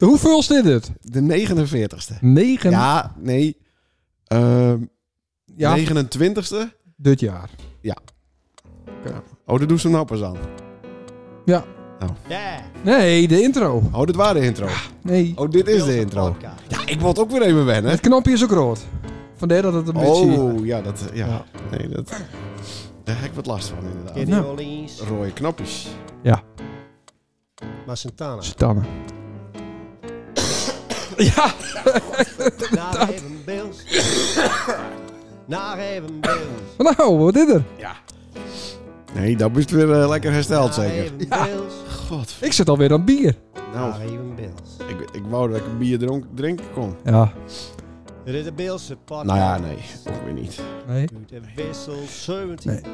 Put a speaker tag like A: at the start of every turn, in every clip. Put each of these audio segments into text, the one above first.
A: De hoeveelste is dit?
B: De 49ste.
A: Negen
B: Ja, nee. Ehm
A: Ja.
B: 29ste.
A: dit jaar.
B: Oh, dat doen ze nou pas aan.
A: Ja.
C: Yeah.
A: Nee, de intro.
B: Oh, dit waren de intro.
A: Nee.
B: Oh, dit is de intro.
C: Podcast.
B: Ja, ik word ook weer even wennen.
A: Het knopje is ook rood. Vandaar dat het een beetje...
B: Oh, ja, dat... Ja.
A: Ja.
B: Nee, dat... Daar heb ik wat last van, inderdaad.
C: Kenny
A: Nou.
C: Rollins,
B: Rode knopjes.
C: maar Santana.
A: Stannen. ja.
C: Naar even Bills. Naar even Bills.
A: Nou, wat is er?
B: Nee, dat is weer eh, lekker hersteld,
C: Naar
B: zeker.
C: even Bills.
B: God.
A: Ik zit alweer aan bier.
C: Naar
B: Nou,
C: even Bills.
B: ik, ik wou dat ik een bier dronk, drinken kon.
A: Ja.
C: Dit is de Bills podcast.
B: Nou ja, nee. Ook weer niet.
A: Nee.
C: Doet De wissel 17.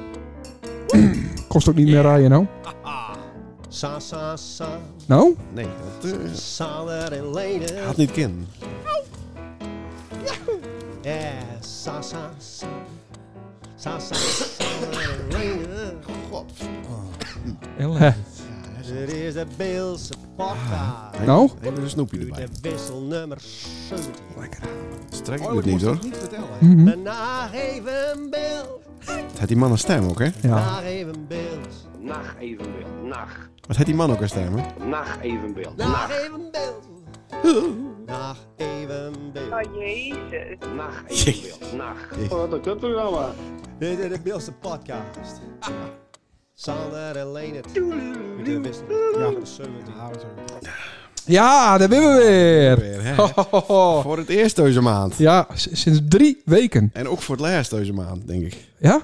A: Nee. Kost ook niet meer rijden nou.
C: Sa, sa, sa.
A: Nou?
B: Nee, dat eh,
C: Sander en Leden.
B: had niet kind.
C: Ja, sa, sa, sa. Sa, sa, Sander en Leden.
B: God.
A: Hè.
C: Dit is de Bills
B: Ah,
C: podcast.
A: Nou?
B: Even een snoepje
C: Doet
B: erbij.
C: de wissel nummer 17.
B: Strek ik het niet, hoor.
C: Niet vertellen.
A: Mhm.
C: De Naar even Bills.
B: Het had die man een stem ook, hè?
A: Ja.
C: Naar even Bills.
D: Nacht evenbeeld, nacht.
B: Wat had die man ook een stem, hè?
D: Nacht evenbeeld,
C: Naar
D: nacht.
C: even Bills. Naar even Bills.
E: Oh jezus.
D: Nacht evenbeeld, nacht.
B: Jezus.
D: Wat een kutprogramma.
C: Dit is de Beelse podcast. Sander en Leendert. Met de wissel. Ja, 17.
A: Ja, daar ben we weer.
B: Weer, hè?
A: Ho, ho, ho.
B: Voor het eerst deze maand.
A: Ja, s- sinds drie weken.
B: En ook voor het laatst deze maand, denk ik.
A: Ja?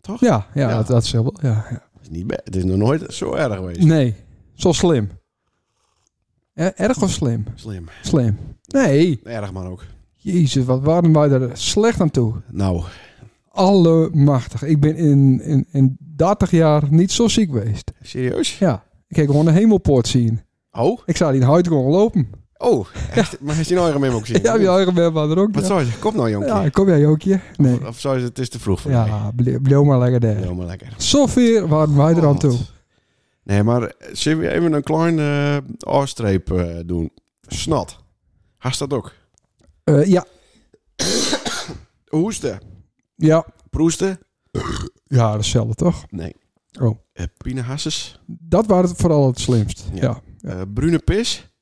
B: Toch?
A: Ja, ja,
B: Ja.
A: Dat, dat is heel wel. Ja, ja.
B: Het is, niet be- het is nog nooit zo erg geweest.
A: Nee, zo slim. Eh, Erg of slim?
B: Slim.
A: Slim. Nee.
B: Erg man ook.
A: Jezus, wat waren wij er slecht aan toe.
B: Nou,
A: Allemachtig. Ik ben in, in, in 30 jaar niet zo ziek geweest.
B: serieus?
A: Ja. Ik keek gewoon de hemelpoort zien.
B: Oh?
A: Ik zou die in huid gewoon lopen.
B: Oh, echt? maar heeft hij nou een memo gezien?
A: Ja, die eigen ben er ook.
B: Wat
A: ja.
B: zou je Kom nou, jonkie.
A: Ja, kom jij Jookje? Nee.
B: Of zou je het is te vroeg voor mij?
A: Ja, ble- bleef maar lekker daar.
B: Heel maar lekker.
A: Zoveel waren wij er aan toe.
B: God. Nee, maar eh, zullen we even een klein eh oorstreep eh, doen? Snot. Hast dat ook?
A: Eh, ja,
B: Hoesten.
A: ja.
B: Proesten.
A: Ja, datzelfde toch?
B: Nee.
A: Oh.
B: Eh, Pinehasses.
A: Dat waren het vooral het slimst.
B: Ja.
A: Ja.
B: Eh, brune pis.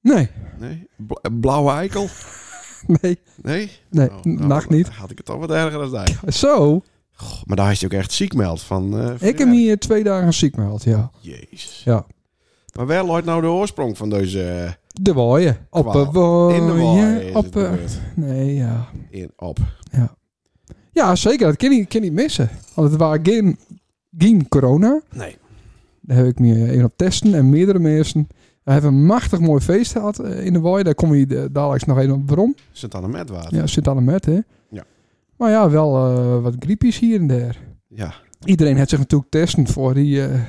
A: Nee,
B: Nee. Bla- eh, blauwe eikel.
A: nee,
B: Nee.
A: nee.
B: Oh, nou,
A: nacht
B: dan
A: niet.
B: Had ik het al wat erger dan daar.
A: Zo,
B: Goh, maar daar is je ook echt ziek meld van. eh, van
A: ik
B: je
A: heb
B: werk.
A: hier twee dagen ziek gemeld, ja.
B: Jezus.
A: Ja.
B: Maar waar luidt nou de oorsprong van deze... eh,
A: De waaien. Op
B: kwaal?
A: de waaien.
B: In de waaien is
A: op,
B: het
A: eh,
B: gebeurd.
A: nee, ja.
B: In, op.
A: Ja, zeker. Dat kan je, kan je niet missen. Want het waren geen, geen corona.
B: Nee.
A: Daar heb ik me in op testen en meerdere mensen. We hebben een machtig mooi feest gehad eh, in de waaien. Daar kom je eh, dadelijk nog even op waarom.
B: Sint Anne met water.
A: Ja, zit aan de met, hè.
B: Ja.
A: Maar ja, wel eh, wat griepjes hier en daar.
B: Ja.
A: iedereen had zich natuurlijk testen voor, die, eh,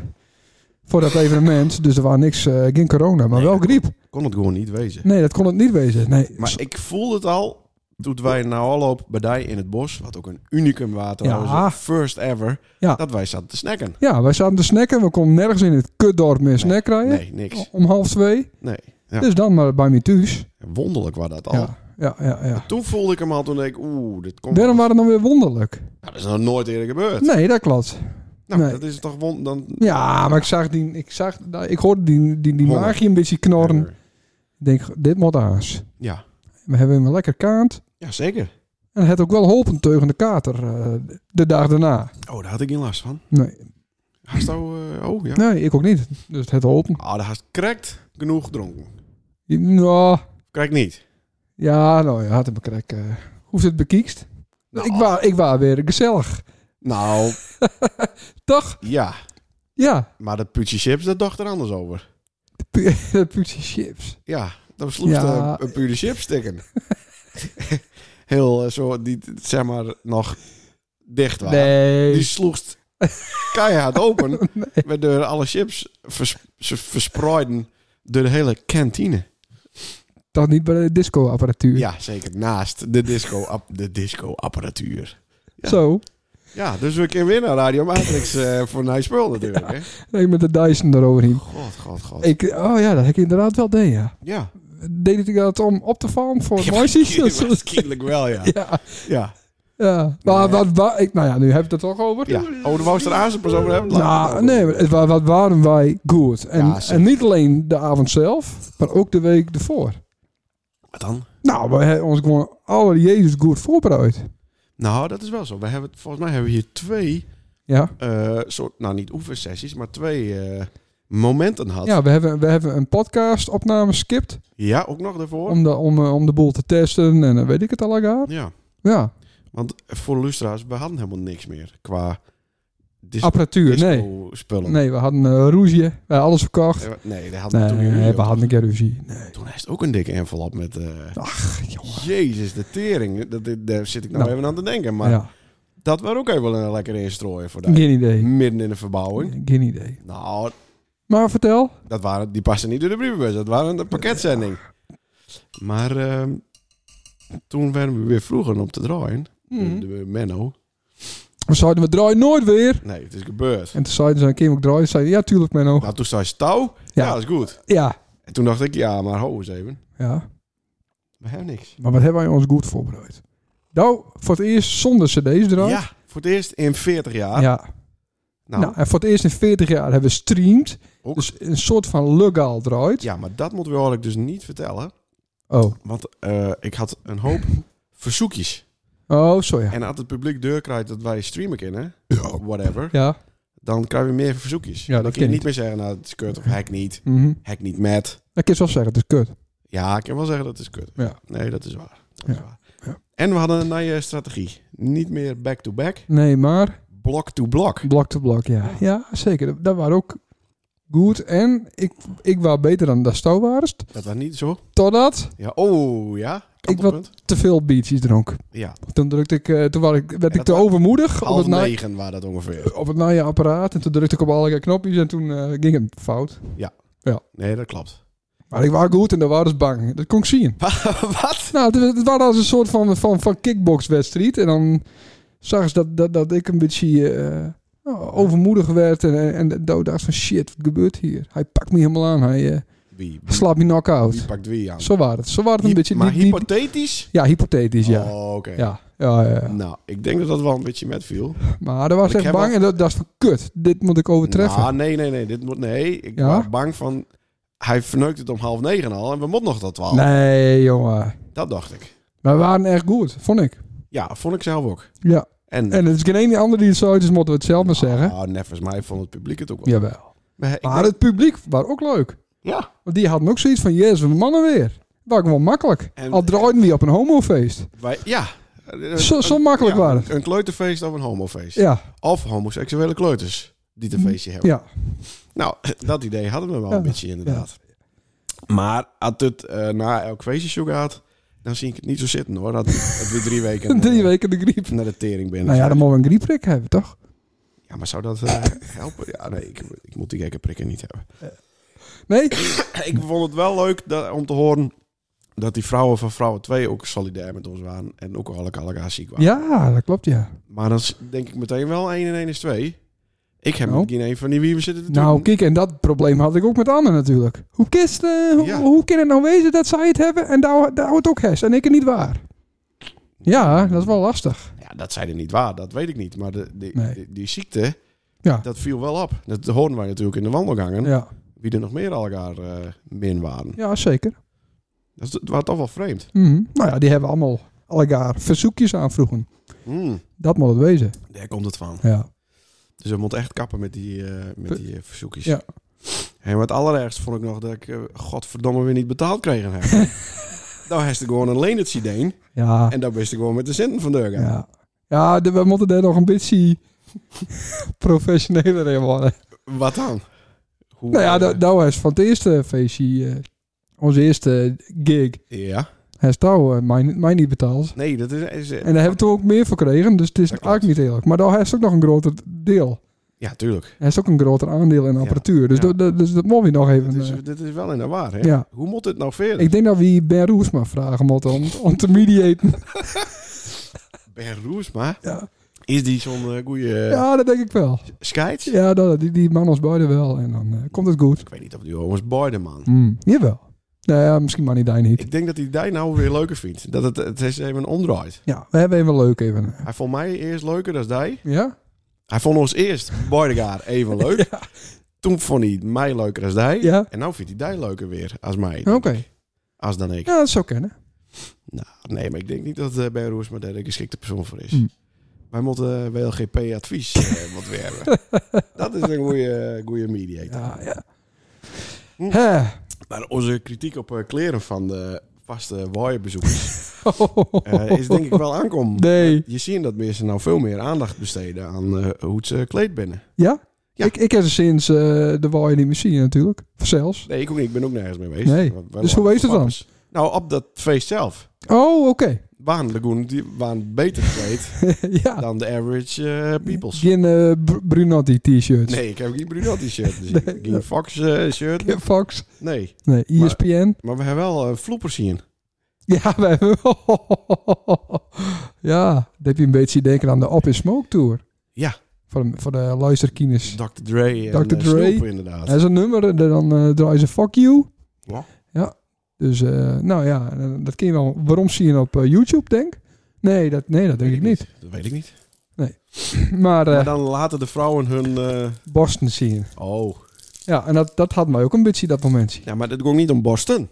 A: voor dat evenement. Dus er was niks, eh, geen corona, maar
B: Nee,
A: wel
B: dat
A: griep.
B: Kon het gewoon niet wezen.
A: Nee, dat kon het niet wezen. Nee.
B: Maar ik voelde het al toen wij naar Holloop bij Dij in het bos, wat ook een unicum water
A: Ja.
B: was, first ever,
A: Ja. Oh
B: dat wij zaten te snacken.
A: Ja, wij zaten te snacken. We konden nergens in het kutdorp meer snack krijgen.
B: Nee, niks.
A: Om half twee.
B: Nee. Ja.
A: Dus dan maar bij me thuis.
B: Wonderlijk was dat al.
A: Ja, ja, ja. ja.
B: Toen voelde ik hem al, toen dacht ik, oeh, dit komt...
A: Daarom waren het dan weer wonderlijk.
B: Ja, dat is nog nooit eerder gebeurd.
A: Nee, dat klopt.
B: nou,
A: nee.
B: dat is toch won... Dan...
A: Ja, maar ik zag die, ik zag, nou, ik hoorde die, die, die
B: Honger.
A: magie een beetje knorren. Ik denk, dit moet aas.
B: Ja.
A: We hebben hem lekker kaant.
B: ja, zeker.
A: En het had ook wel holpen tegen de kater eh, de dag daarna.
B: Oh, daar had ik geen last van.
A: Nee,
B: Had nou... eh, oh, ja.
A: nee ik ook niet. Dus het holpen.
B: Ah, daar had correct genoeg gedronken.
A: Nou,
B: Krijg niet.
A: ja, nou ja, had hem krek. eh hoe is het bekiekst? Ik was ik wa weer gezellig.
B: Nou,
A: Toch?
B: ja.
A: Ja,
B: Maar dat putje chips, dat dacht er anders over.
A: de putje chips.
B: Ja, dan sloeg
A: Ja.
B: de- een pure chip stikken. Heel eh, zo, die zeg maar nog dicht waren. Die
A: Nee.
B: sloegst keihard open. Waardoor alle chips vers, ze verspreiden door de hele kantine.
A: Dat niet bij de disco-apparatuur.
B: Ja, zeker. Naast de disco, ap- de disco apparatuur. ja.
A: Zo.
B: Ja, dus we kunnen weer naar Radio Matrix eh, voor Nice Spul natuurlijk. Hè?
A: Nee, met de Dyson eroverheen.
B: God, god, god.
A: Ik, oh ja, dat heb ik inderdaad wel deed, ja.
B: Ja,
A: deed hij dat om op te vallen voor het mooiste?
B: Waarschijnlijk wel, ja.
A: Ja,
B: Ja,
A: ja. Maar wat, wa- ik, nou ja, nu heb je het er toch over.
B: ja. Oh, de wou je er aanzien pas over hebben? Laat
A: Nou,
B: het
A: nee, maar het wa- wat waren wij goed. En,
B: Ja, zeker.
A: en niet alleen de avond zelf, maar ook de week ervoor.
B: Wat dan?
A: Nou, we hebben ons gewoon alle Jezus goed voorbereid.
B: Nou, dat is wel zo. We hebben, volgens mij hebben we hier twee,
A: Ja,
B: eh, soort, nou niet oefensessies, maar twee eh, momenten gehad. Ja.
A: ja we, hebben, we hebben een podcastopname skipt
B: ook nog daarvoor.
A: om de, om, eh, om de boel te testen en eh, weet ik het al elkaar.
B: Ja,
A: Ja,
B: want voor de lustra's, we hadden helemaal niks meer qua dis-
A: apparatuur, nee.
B: disco-spullen.
A: Nee, we hadden een roesje, we hadden alles verkocht.
B: Eh, Nee, daar hadden
A: Nee,
B: we toen niet.
A: we hadden een keer ruzie. Nee.
B: Toen heeft ook een dikke envelop met... eh,
A: Ach, jongen.
B: Jezus, de tering. Dat, dat- daar zit ik nou,
A: Nou.
B: even aan te denken. Maar
A: ja,
B: dat was ook even wel een lekker instrooien voor daar.
A: geen idee.
B: Midden in de verbouwing.
A: Geen idee.
B: Nou,
A: Maar vertel.
B: dat waren, die passen niet door de brievenbus. Dat waren een pakketzending. Maar ehm, toen werden we weer vroeger om te draaien.
A: Mhm.
B: De, de Menno.
A: We zeiden, we draaien nooit weer.
B: Nee, het is gebeurd.
A: En toen zeiden ze, Kim ook draaien. Zeiden, ja, tuurlijk, Menno.
B: Nou, toen zei ze touw. Ja.
A: Ja.
B: dat is goed.
A: Ja.
B: En toen dacht ik, ja, maar ho eens even.
A: Ja.
B: We hebben niks.
A: Maar wat hebben wij ons goed voorbereid? Nou, voor het eerst zonder cd's draaien.
B: Ja, voor het eerst in 40 jaar.
A: Ja.
B: Nou,
A: Nou, en voor het eerst in 40 jaar hebben we streamed.
B: Ook.
A: Dus een soort van legaal draait.
B: ja, maar dat moeten we eigenlijk dus niet vertellen.
A: Oh.
B: Want eh, ik had een hoop verzoekjes.
A: Oh, zo ja.
B: En als het publiek deur krijgt dat wij streamen kunnen, whatever,
A: Ja.
B: dan krijgen we meer verzoekjes.
A: Ja, dat
B: dan kun je
A: kan
B: niet meer zeggen, nou, het is kut of hack niet,
A: Mhm.
B: hack niet met.
A: Dat kun je wel zeggen, het is kut.
B: Ja, ik kan wel zeggen dat het is kut.
A: Ja.
B: Nee, dat is waar. Dat is
A: Ja.
B: waar.
A: Ja.
B: En we hadden een nieuwe strategie. Niet meer back-to-back,
A: Nee, maar
B: blok-to-blok.
A: blok to blok, ja. Ja, zeker. Dat- Dat waren ook goed. En ik, ik was beter dan dat Stouw waren.
B: Dat was niet zo.
A: Totdat
B: Ja, oh ja, kantelpunt.
A: te veel biertjes dronk.
B: Ja,
A: Toen drukte ik, eh, toen was ik, werd
B: Ja,
A: ik te
B: dat-
A: overmoedig op
B: half
A: het, na,
B: negen waren dat ongeveer.
A: op het naaie apparaat. En toen drukte ik op alle knopjes en toen eh, ging het fout.
B: Nee, dat klopt.
A: Maar ik was goed en daar waren ze bang. Dat kon ik zien.
B: Wat?
A: Nou, het, het waren als een soort van, van, van kickboxwedstrijd. En dan zag ze dat, dat, dat ik een beetje eh, nou, overmoedig werd. En, en, en dat ik dacht van shit, wat gebeurt hier? Hij pakt me helemaal aan. Hij eh,
B: Wie, wie,
A: slaat me
B: wie
A: knock-out.
B: pakt wie aan?
A: Zo was het. Zo was het een
B: Hy-
A: beetje.
B: maar
A: niet- niet-
B: hypothetisch?
A: ja, hypothetisch, ja.
B: Oh, oké.
A: Ja, ja, ja, ja.
B: Nou, ik denk dat dat wel een beetje metviel.
A: Maar daar was
B: Ik
A: ik echt
B: heb
A: bang
B: al-
A: en dat, dat is van kut. Dit moet ik overtreffen.
B: Nou, nee, nee, nee. Dit moet, nee. Ik
A: Ja?
B: was bang van... Hij verneukt het om half negen al en we moeten nog tot twaalf.
A: nee, jongen.
B: Dat dacht ik.
A: Wij waren echt goed, vond ik.
B: Ja, vond ik zelf ook.
A: Ja.
B: En,
A: En het is geen ene ander die het zo is, dus moeten we het zelf maar zeggen. Ah.
B: Ah, neffens mij vond het publiek het ook wel.
A: Jawel.
B: Maar ik
A: Maar
B: denk-
A: het publiek was ook leuk.
B: ja.
A: Want die hadden ook zoiets van, jezus, we mannen weer. Dat was wel makkelijk.
B: En-
A: Al draaiden we op een homofeest.
B: Wij, ja.
A: Zo- zo makkelijk
B: ja,
A: waren het.
B: Een kleuterfeest of een homofeest.
A: Ja, Mhm.
B: Of homoseksuele kleuters die een feestje hebben.
A: ja.
B: Nou, dat idee hadden we wel
A: Ja.
B: een beetje inderdaad. Maar als het eh, na elk feestje zo gaat, dan zie ik het niet zo zitten hoor. Dat, dat we drie weken, eh,
A: Drie weken de griep.
B: naar de tering binnen.
A: Nou ja,
B: zijn.
A: dan mogen we een griepprik hebben, toch?
B: Ja, maar zou dat eh, helpen? Ja, nee, ik, ik moet die gekke prikken niet hebben.
A: Nee?
B: Ik vond het wel leuk dat, om te horen dat die vrouwen van Vrouwen 2 ook solidair met ons waren. En ook al elkaar ziek waren.
A: Ja, dat klopt, ja.
B: Maar dan s- denk ik meteen wel 1 en 1 is 2. Ik heb
A: Nou.
B: met geen een van die wie we zitten te
A: Nou,
B: doen.
A: kijk, en dat probleem had ik ook met Anne natuurlijk. Hoe, kist, eh, hoe,
B: Ja.
A: hoe kan het nou wezen dat zij het hebben en daar daar houdt ook hes en ik het niet waar? Ja, dat is wel lastig.
B: Ja, dat zij er niet waar, dat weet ik niet. Maar de, die-
A: Nee.
B: die, die ziekte,
A: Ja.
B: dat viel wel op. Dat hoorden wij natuurlijk in de wandelgangen.
A: Ja,
B: Wie er nog meer aan elkaar eh, min waren.
A: ja zeker.
B: Dat, is- het was toch wel vreemd.
A: Mhm. Nou ja, die hebben allemaal elkaar verzoekjes aanvroegen.
B: Hmm,
A: Dat moet het wezen.
B: daar komt het van.
A: Ja.
B: Dus we moeten echt kappen met die, eh, met die eh, verzoekjes.
A: Ja.
B: En wat allerergst vond ik nog dat ik, eh, godverdomme, weer niet betaald kreeg. heb. nou, heeft ik gewoon een lenertsideen.
A: Ja.
B: En dan wist ik gewoon met de zin van deur. gaan.
A: Ja, ja de- we moeten daar nog een beetje professioneler in worden.
B: Wat dan? Hoe,
A: Nou ja,
B: eh,
A: dat dat was van het eerste feestje, eh, onze eerste gig.
B: ja.
A: Hij is nou eh, mij, mij niet betaald.
B: Nee, dat is... is eh,
A: En daar hebben we toen ook meer voor gekregen, dus het is
B: Dat klopt.
A: eigenlijk niet eerlijk. Maar daar heeft ook nog een groter deel.
B: ja, tuurlijk.
A: Hij heeft ook een groter aandeel in apparatuur. Dus,
B: ja.
A: dat- dat- dus dat moet je nog even...
B: Dit is,
A: eh,
B: dit is wel in de waar, hè?
A: ja.
B: Hoe moet het nou verder?
A: Ik denk dat we Ben Roes maar vragen moeten om, om te mediaten.
B: Ben Roesma,
A: Ja.
B: is die zo'n eh, goeie eh,
A: ja, dat denk ik wel.
B: scheids?
A: Ja, dat, die, die man ons beide wel. En dan eh, komt het goed.
B: Ik weet niet of die jongens Boyden, man.
A: Mm. Jawel. Nou ja, misschien maar niet daar niet.
B: Ik denk dat hij daar nou weer leuker vindt. Dat het, het is even omdraait.
A: Ja, we hebben even leuk even. eh.
B: Hij vond mij eerst leuker dan hij.
A: Ja?
B: Hij vond ons eerst, Boydegaard, even leuk.
A: Ja.
B: Toen vond hij mij leuker als hij.
A: Ja.
B: En nou vindt hij daar leuker weer als mij.
A: Oké.
B: Als dan ik.
A: Ja, dat zou kennen.
B: Nou, nee, maar ik denk niet dat eh Ben Roesma daar de geschikte persoon voor is.
A: Hm.
B: Wij moeten eh, WLGP-advies eh wat weer hebben. dat is een goede, goede mediator.
A: Ja, ja.
B: Hm.
A: Hè.
B: Maar onze kritiek op eh, kleren van de vaste waaierbezoekers eh, is denk ik wel aankom.
A: Nee.
B: Je ziet dat mensen nou veel meer aandacht besteden aan eh, hoe ze kleed binnen.
A: Ja?
B: Ja.
A: Ik, ik heb ze sinds eh, de Waai niet meer zien natuurlijk. Zelfs.
B: Nee, ik ook niet. Ik ben ook nergens mee bezig.
A: Nee.
B: Wij- wij
A: Dus hoe
B: waren
A: is het dan?
B: pappers. Nou, op dat feest zelf
A: Oh, oké.
B: waren de Goen die waren beter gekleed
A: ja.
B: dan de average eh, peoples.
A: Geen eh, Br- Brunotti t-shirts.
B: Nee, ik heb geen Brunel-t-shirt gezien. Geen Fox-shirt.
A: Geen Fox.
B: nee.
A: Nee, E ESPN.
B: Maar we hebben wel eh, vloepers zien.
A: Ja, we hebben... ja, dat heb je een beetje denken aan de Op in Smoke Tour.
B: Ja.
A: Voor, voor de luisterkines.
B: Dr. Dre en
A: Dr.
B: Dr.
A: Dre.
B: inderdaad.
A: Dat is een nummer, en dan eh draaien ze Fuck You.
B: Ja.
A: Ja. Dus, eh, nou ja, eh, dat ken je wel. Waarom zie je hem op eh, YouTube, denk? Nee, dat, nee, dat denk ik niet.
B: Dat weet ik niet.
A: Maar, eh
B: Maar dan laten de vrouwen hun... eh,
A: Boston zien.
B: Oh.
A: Ja, en dat, dat had mij ook een beetje dat momentje.
B: Ja, maar dat ging niet om Boston.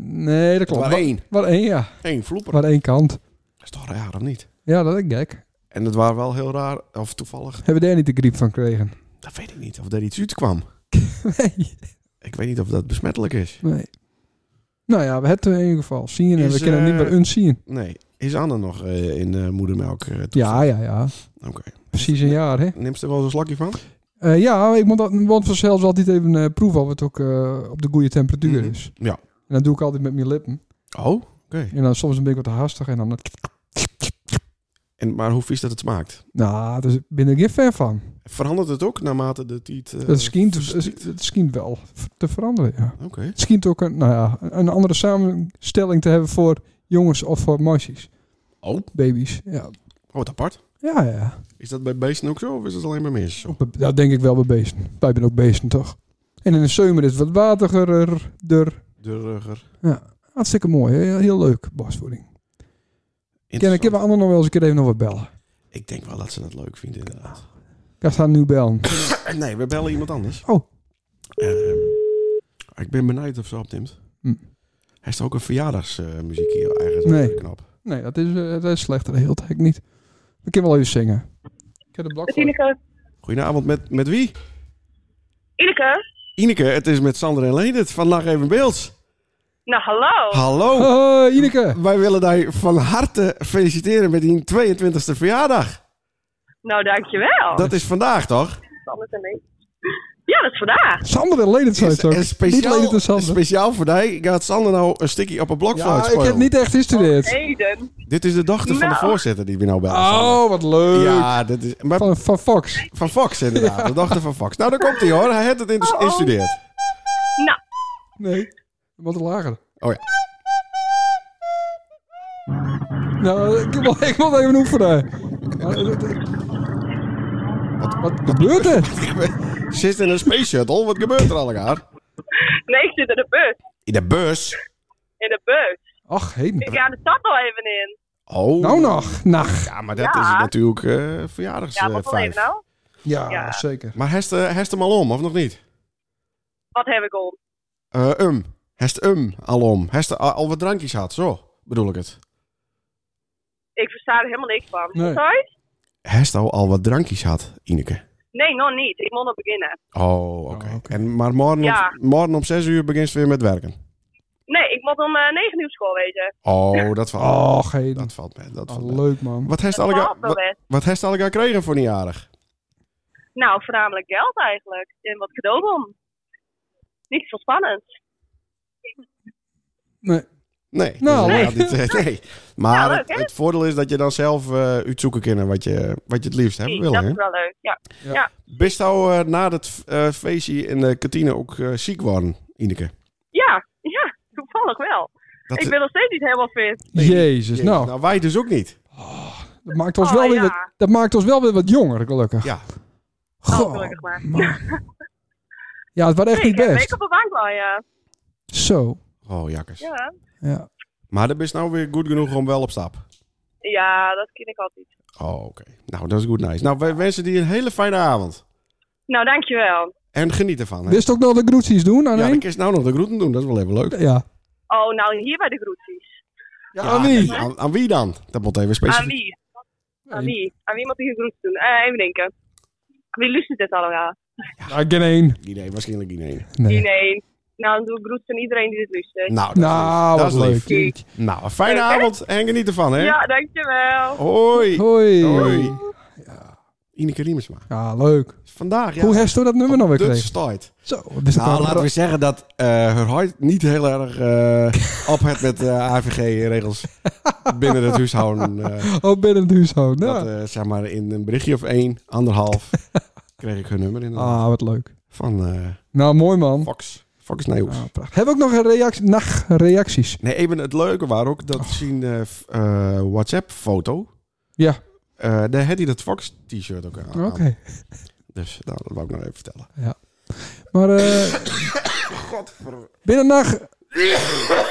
A: Nee, dat
B: Het
A: klopt.
B: was één.
A: Waar één, ja.
B: Eén vloeper.
A: Waar één kant.
B: Dat is toch raar, of niet?
A: Ja, dat is gek.
B: En dat waren wel heel raar, of toevallig.
A: Hebben we daar niet de griep van gekregen?
B: Dat weet ik niet. Of daar iets uit kwam.
A: Nee.
B: Ik weet niet of dat besmettelijk is.
A: Nee. Nou ja, we hebben het in ieder geval zien en
B: Is,
A: we kunnen hem niet
B: eh,
A: meer unzien.
B: Nee. Is Anne nog eh, in eh, moedermelk? eh, toestand?
A: Ja, ja, ja.
B: Oké.
A: Precies een jaar, hè?
B: Neemt ze er wel eens een slakje van?
A: Eh, ja, ik moet, dat- want vanzelf altijd even eh, proeven of het ook eh, op de goede temperatuur
B: Mhm.
A: is.
B: Ja.
A: En dat doe ik altijd met mijn lippen.
B: Oh, oké.
A: En dan soms een beetje wat haastig en dan...
B: En, maar hoe vies dat het smaakt?
A: Nou, daar ben ik geen fan van.
B: Verandert het ook naarmate de tiet... eh,
A: Het schijnt,
B: verstiet?
A: het schijnt wel te veranderen, ja.
B: Oké.
A: Het schijnt ook een, nou ja, een andere samenstelling te hebben voor jongens of voor meisjes.
B: Oh.
A: Baby's, ja.
B: Oh, wat apart.
A: Ja, ja.
B: Is dat bij beesten ook zo of is dat alleen bij mensen zo?
A: Be- Dat denk ik wel bij beesten. Wij zijn ook beesten, toch? En in de zomer is het wat wateriger. er.
B: Durriger.
A: Ja, hartstikke mooi. Heel, heel leuk, bosvoeding. Ken ik heb
B: Interessant.
A: Anne nog wel eens een keer even nog wat bellen.
B: Ik denk wel dat ze het leuk vindt, inderdaad.
A: Ik ga haar nu bellen.
B: Nee, we bellen iemand anders.
A: Oh.
B: Ehm, ik ben benieuwd of ze opneemt.
A: Hm.
B: Hij is ook een verjaardagsmuziek hier eigenlijk.
A: Nee.
B: Knap.
A: Nee, dat is, eh, dat is slechter. Dat hield ik niet. We kunnen wel even zingen. Ik heb de blok voor.
E: Ineke.
B: Goedenavond, met, met wie?
E: Ineke?
B: Ineke, het is met Sander en Leendert van Nacht Even Beeld.
E: Nou, hallo.
B: Hallo.
A: Hoi, Oh, Ineke.
B: Wij willen jou van harte feliciteren met die 22e verjaardag.
E: Nou, dankjewel.
B: Dat is vandaag, toch?
E: Alles en niks. Ja, dat is vandaag.
A: Sander en Ledert zijn
B: Is
A: het ook.
B: en
A: niet Ledert en
B: speciaal,
A: Sander.
B: speciaal voor jou gaat Sander nou een stukje op een blokfluit
A: ja, ik
B: spelen.
A: heb niet echt
E: Oh,
A: gestudeerd.
E: Eden.
B: Dit is de dochter van de
E: Nou.
B: voorzitter die we nou bellen. Sander.
A: Oh, wat leuk.
B: Ja, dit is... Maar
A: Van, van Fox.
B: Van Fox, inderdaad. De dochter van Fox. Nou, daar komt hij hoor. Hij heeft het in- ingestudeerd.
E: Nou,
A: Nee. Wat lager.
B: Oh ja.
A: Nou, ik wil, ik wil even oefenen. eh, Wat, wat gebeurt er?
B: Zit in een space shuttle. Wat gebeurt er allemaal?
E: nee, ik zit in de bus.
B: In de bus.
E: In de bus.
A: Ach, heen.
E: Ik ga de stad al even in.
B: Oh.
A: Nou nog. Nacht.
B: Ja, maar dat
E: Ja.
B: is natuurlijk eh verjaardags.
E: Ja,
B: eh,
E: wat al
B: vijf.
E: even nou?
A: Ja,
E: Ja.
A: zeker.
B: Maar hest, eh, hest hem al om, of nog niet?
E: Wat heb ik om?
B: Eh um. Hest um al om. Hest al, al wat drankjes had. Zo bedoel ik het.
E: Ik versta er helemaal niks van.
A: Nee.
E: Sorry?
B: Hest al, al wat drankjes had, Ineke.
E: Nee, nog niet. Ik moet nog beginnen.
B: Oh, oké.
A: Oh, oké.
B: En Maar morgen,
E: Ja.
B: om, morgen om zes uur begint ze weer met werken.
E: Nee, ik moet om eh, 9 uur op school wezen.
B: Oh, dat valt
A: Och, heen.
B: Dat valt mee. Dat valt
A: Ah,
B: mee.
A: leuk, man.
B: Wat heeft
E: Dat
B: Allega,
E: valt wel
B: wat,
E: best.
B: wat heeft Allega kregen voor een jarig?
E: Nou, voornamelijk geld eigenlijk. En wat cadeaubon. Niet veel spannend.
A: Nee.
B: Nee.
A: Nou,
B: Dus, ja, dit, eh, nee. Maar
E: Ja, leuk,
B: het,
E: hè?
B: het voordeel is dat je dan zelf eh uitzoeken kan wat je, wat je het liefst hebt
E: dat
B: willen.
E: is
B: Hè?
E: wel leuk. Ja.
B: Bist jou eh, na dat eh, feestje in de kantine ook eh, ziek worden, Ineke?
E: ja, ja, toevallig wel.
B: Dat,
E: Ik ben nog steeds niet helemaal fit.
B: Nee.
A: Jezus, nou.
B: nou, wij dus ook niet.
A: Dat maakt ons,
E: Oh,
A: wel weer
E: ja.
A: wat, dat maakt ons wel weer wat jonger, gelukkig.
B: Ja.
E: Oh,
A: Goh,
E: gelukkig maar.
A: man. Ja, het was echt
E: Nee,
A: niet
E: ik heb een week
A: best.
E: op de bank wel, ja.
A: Zo.
B: Oh, jakkers.
E: Ja.
A: Ja.
B: Maar dat is nou weer goed genoeg om wel op stap.
E: ja, dat ken ik altijd.
B: Oh, oké. Nou, dat is goed nice. Nou, wij wensen die een hele fijne avond.
E: Nou, dankjewel.
B: En geniet ervan. Hè?
A: Wist ook nog de groetjes doen aan
B: ja,
A: één?
B: dan kun je nou nog de groeten doen. Dat is wel even leuk.
A: Ja.
E: Oh, nou, hier bij de groetjes.
A: Ja, aan wie?
B: Aan, aan wie dan? Dat moet even
E: Aan
B: specifiek.
E: wie? Aan wie? Aan wie moet ik een groet doen? Eh, even denken. Wie luistert dit allemaal?
A: Ja, geen één.
B: Nee, waarschijnlijk niet. Nee.
A: Nee.
E: Iedereen. Nou, dan doe ik groet aan iedereen die dit luistert.
B: Nou, dat is
A: Nou,
B: lief.
A: wat
B: dat is
A: leuk.
B: lief.
A: Kijk.
B: Nou, een fijne avond en geniet ervan, hè?
E: Ja, dankjewel.
B: Hoi.
A: Hoi.
B: Hoi. Ineke Riemersma.
A: Ja, leuk.
B: Vandaag, ja.
A: Hoe heeft u dat nummer nou weer
B: Dutch
A: gekregen?
B: start.
A: Zo, dat is
B: Nou, laten we zeggen dat eh haar hart niet heel erg eh op het met eh AVG-regels binnen het huishouden. eh
A: Oh, binnen het huishouden.
B: dat,
A: Ja.
B: eh, zeg maar in een berichtje of één, anderhalf, kreeg ik hun nummer inderdaad.
A: Ah, wat leuk.
B: Van eh
A: Nou, mooi man.
B: Fox. Fox News.
A: Ah, prachtig. Hebben we ook nog een reactie? Nacht reacties.
B: Nee, even het leuke waar ook dat
A: Oh.
B: zien eh, f- eh, WhatsApp-foto.
A: Ja.
B: Eh, daar had hij dat Fox-t-shirt ook aan.
A: Oké.
B: Dus nou, dat wou ik nog even vertellen.
A: Maar eh binnen nacht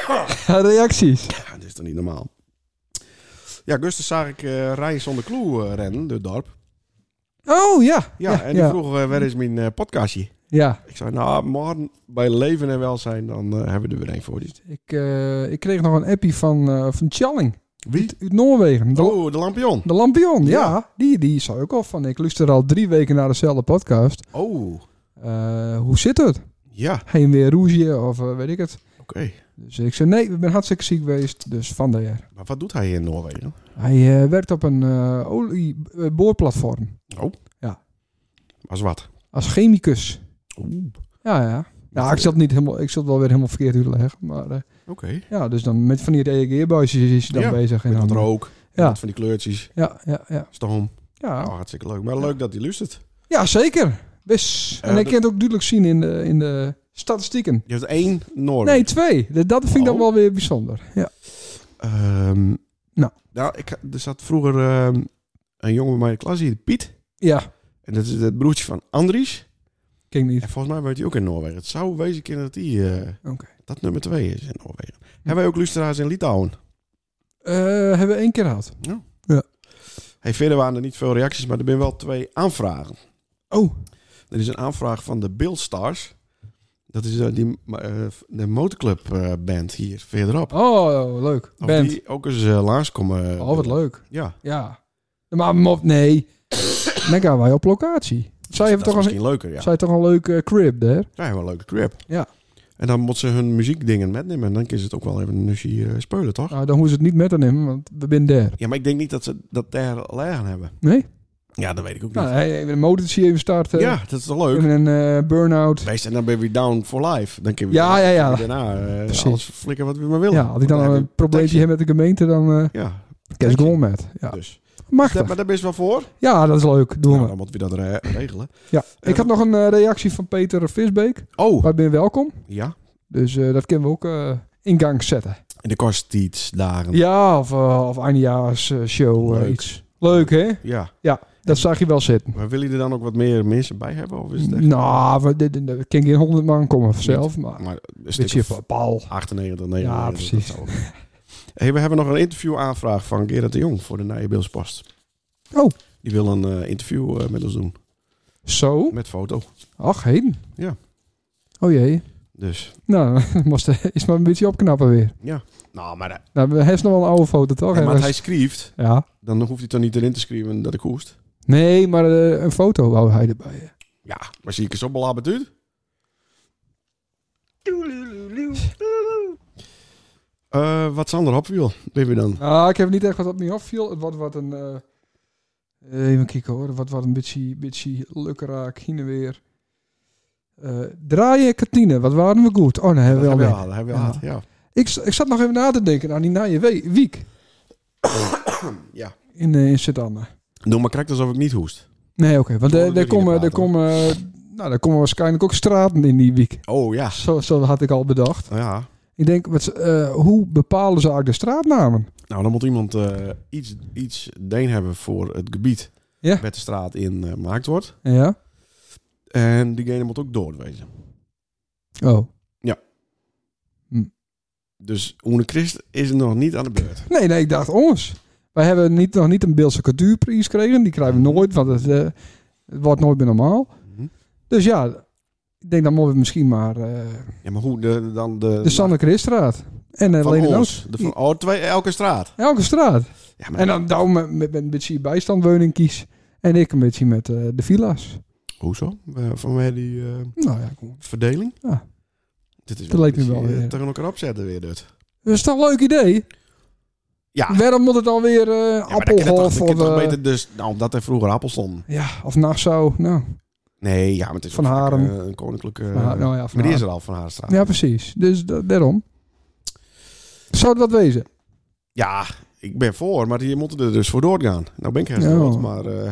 A: reacties.
B: Ja, dit is toch niet normaal. Ja, Gustus zag ik eh Rijn zonder clue eh, rennen, door het dorp.
A: Oh ja.
B: Ja, en die
A: ja.
B: vroeg, eh, waar is mijn eh, podcastje?
A: Ja,
B: Ik zei, nou, morgen bij Leven en Welzijn, dan eh, hebben we er weer een voor. Dus-
A: ik, eh, ik kreeg nog een appie van, eh van Tjalling
B: Wie?
A: uit Noorwegen. De,
B: Oh, de lampion.
A: de Lampion, ja.
B: Ja.
A: Die, die zei ook al van, ik luister al drie weken naar dezelfde podcast.
B: Oh,
A: Eh, hoe zit het?
B: ja,
A: Heen weer roesje of eh, weet ik het.
B: oké.
A: Dus ik zei, nee, ik ben hartstikke ziek geweest, dus vandaar.
B: Maar wat doet hij in Noorwegen?
A: Hij eh, werkt op een eh olieboorplatform.
B: Als wat?
A: Als chemicus.
B: Oeh,
A: Ja, ja. Nou, ik zal het, niet helemaal, ik zal het wel weer helemaal verkeerd uitleggen. Maar eh,
B: oké.
A: ja, dus dan met van die reageerbuisjes is je dan
B: Ja,
A: bezig. En
B: Met wat
A: dan,
B: rook,
A: Ja.
B: met van die kleurtjes,
A: Ja, ja, ja.
B: stoom.
A: Oh. Ja,
B: Nou, hartstikke leuk. Maar leuk dat hij luistert.
A: ja zeker. Wis.
B: Eh,
A: en ik
B: dat-
A: kan het ook duidelijk zien in de, in de statistieken.
B: Je hebt één Noorwegen.
A: Nee, twee. Dat, dat vind ik dan
B: Oh.
A: wel weer bijzonder. Ja.
B: Ehm,
A: Nou.
B: nou ik, er zat vroeger ehm, een jongen bij mij in de klas hier, Piet.
A: Ja,
B: En dat is het broertje van Andries.
A: kijk niet.
B: En volgens mij woont hij ook in Noorwegen. Het zou wezen kunnen dat die, eh,
A: Oké.
B: dat nummer twee is in Noorwegen. Hebben wij ook luisteraars in Litouwen?
A: Eh, hebben we één keer gehad.
B: Hey, verder waren er niet veel reacties, maar er zijn wel twee aanvragen.
A: Oh,
B: Er is een aanvraag van de Bildstars. Dat is eh, die, eh, de motorclub eh, band hier verderop.
A: oh leuk.
B: Of
A: Band.
B: die ook eens eh, langskomen. eh,
A: Oh, wat leuk.
B: Ja,
A: Ja. Maar mop, nee. dan gaan wij op locatie. Zij
B: Dus dat
A: hebben
B: is
A: toch,
B: misschien
A: een-
B: leuker, ja.
A: zij toch een leuk eh, crib daar?
B: Ja, wel een leuke crap.
A: Ja.
B: En dan moet ze hun muziekdingen metnemen. En dan kunnen ze het ook wel even een nusje eh, speulen, toch?
A: Nou, dan hoeven ze het niet met te nemen, want we zijn daar.
B: Ja, maar ik denk niet dat ze dat daar leggen hebben.
A: Nee?
B: Ja, dat weet ik ook niet.
A: Nou, hey, even een motortje even starten.
B: ja, dat is toch leuk?
A: Even een eh, burn-out.
B: Wees en dan ben je weer down for life. Dan kun je
A: Ja,
B: weer-
A: ja, ja.
B: kun je daarna eh,
A: Precies.
B: alles flikken wat we maar willen.
A: Ja, als ik dan
B: heb je
A: een probleempje heb met de gemeente, dan eh
B: Ja,
A: kerst
B: je.
A: gewoon met. Ja.
B: dus.
A: Mag
B: Dat, maar daar ben je wel voor.
A: Ja, dat is leuk. Doen
B: Nou,
A: we.
B: dan moeten we dat re- regelen.
A: Ik had nog een eh, reactie van Peter Visbeek.
B: Oh,
A: Wij ben welkom.
B: ja.
A: Dus eh, dat kunnen we ook eh, in gang zetten.
B: En de kost iets dagen.
A: Ja, of, eh, of eindjaars eh, show. eh,
B: Leuk.
A: iets. Leuk, hè?
B: Ja.
A: Dat zag je wel zitten.
B: Maar wil je er dan ook wat meer mensen bij hebben? Of is het echt...
A: Nou, we- dit- dit- er kan geen honderd man komen vanzelf, maar
B: Maar een
A: dit
B: stuk
A: je
B: of
A: van Paul.
B: 98,
A: Ja,
B: 99.
A: precies.
B: dat zou- Hey, we hebben nog een interviewaanvraag van Gerard de Jong voor de Nijenbeelspost.
A: Oh.
B: Die wil een eh, interview eh, met ons doen.
A: Zo,
B: Met foto.
A: ach heden.
B: Ja.
A: Oh jee.
B: Dus,
A: Nou, moest er- is maar een beetje opknappen weer.
B: nou, maar, eh,
A: Nou, we hebben nog wel een oude foto, toch?
B: maar als hij
A: Ergens?
B: schrijft,
A: Ja.
B: dan hoeft hij toch niet erin te schrijven dat ik hoest.
A: Nee, maar eh, een foto wou hij erbij.
B: Ja, maar zie ik er zo belabberd uit? Eh, wat Sander Hopwiel, ben je dan?
A: Ah, ik heb niet echt wat op me afviel. Het wordt wat een... eh, even kijken hoor. Wat wat een beetje, beetje lukkeraak. Heen en weer. Eh, draaien Katine. Wat waren we goed? Oh, nee, hebben we
B: dat
A: al
B: hebben
A: weer.
B: we al, dat hebben we
A: Ja.
B: al gehad, ja.
A: Ik, z- ik zat nog even na te denken Nou, aan die naaie we- week
B: ja.
A: in, eh, in Sint-Anne.
B: Doe maar krijg alsof ik niet hoest.
A: Nee, oké. want
B: Zullen
A: eh,
B: we
A: daar
B: er niet
A: komen,
B: in
A: daar
B: praten,
A: komen, eh, nou, daar komen waarschijnlijk ook straten in die week.
B: Oh ja,
A: Zo, zo had ik al bedacht.
B: nou ja.
A: Ik denk, wat, ze- eh, hoe bepalen ze eigenlijk de straatnamen?
B: Nou, dan moet iemand eh, iets, iets deen hebben voor het gebied
A: Ja.
B: met de straat in eh, gemaakt wordt.
A: Ja?
B: En diegene moet ook doodwezen.
A: Oh.
B: Ja.
A: Hm.
B: Dus Oene Christ is nog niet aan de beurt.
A: Nee, nee, ik dacht ons. Wij hebben niet, nog niet een Beeldse cultuurprijs gekregen. Die krijgen
B: Mm.
A: we nooit, want het, eh, het wordt nooit meer normaal.
B: Mhm.
A: Dus ja, ik denk dan moeten we misschien maar eh,
B: Ja, maar hoe de, dan de...
A: de Sanne Christstraat. En eh
B: van
A: Lene
B: ons.
A: Noot.
B: De van, oh, twee, elke straat.
A: Elke straat.
B: Ja, maar
A: En dan douw met, met, met een beetje bijstandwoning kies. En ik een beetje met eh, de villa's.
B: Hoezo? Eh, Van mij die eh,
A: Nou ja, kom.
B: verdeling?
A: Ja.
B: Dit is
A: Dat lijkt me
B: een
A: wel,
B: beetje, eh,
A: ja.
B: tegen elkaar opzetten weer dus. dit.
A: Dat is toch een leuk idee?
B: Ja.
A: Waarom moet het dan weer eh
B: Ja, maar dan kun je toch,
A: Appelhof
B: dan kun
A: of...
B: je toch
A: eh,
B: beter dus, nou, omdat er vroeger appels stonden.
A: ja, of Nassau. Nou,
B: Nee, ja, maar het is
A: Van
B: ook vaak,
A: Haren.
B: eh, een koninklijke...
A: van Haar- nou ja, van
B: maar die
A: Haar-
B: is er al, Van Harenstraat.
A: Ja, precies. Dus da- daarom. Zou het wat wezen?
B: Ja, ik ben voor, maar je moet er dus voor doorgaan. Nou ben ik ergens
A: Ja.
B: dood, maar eh,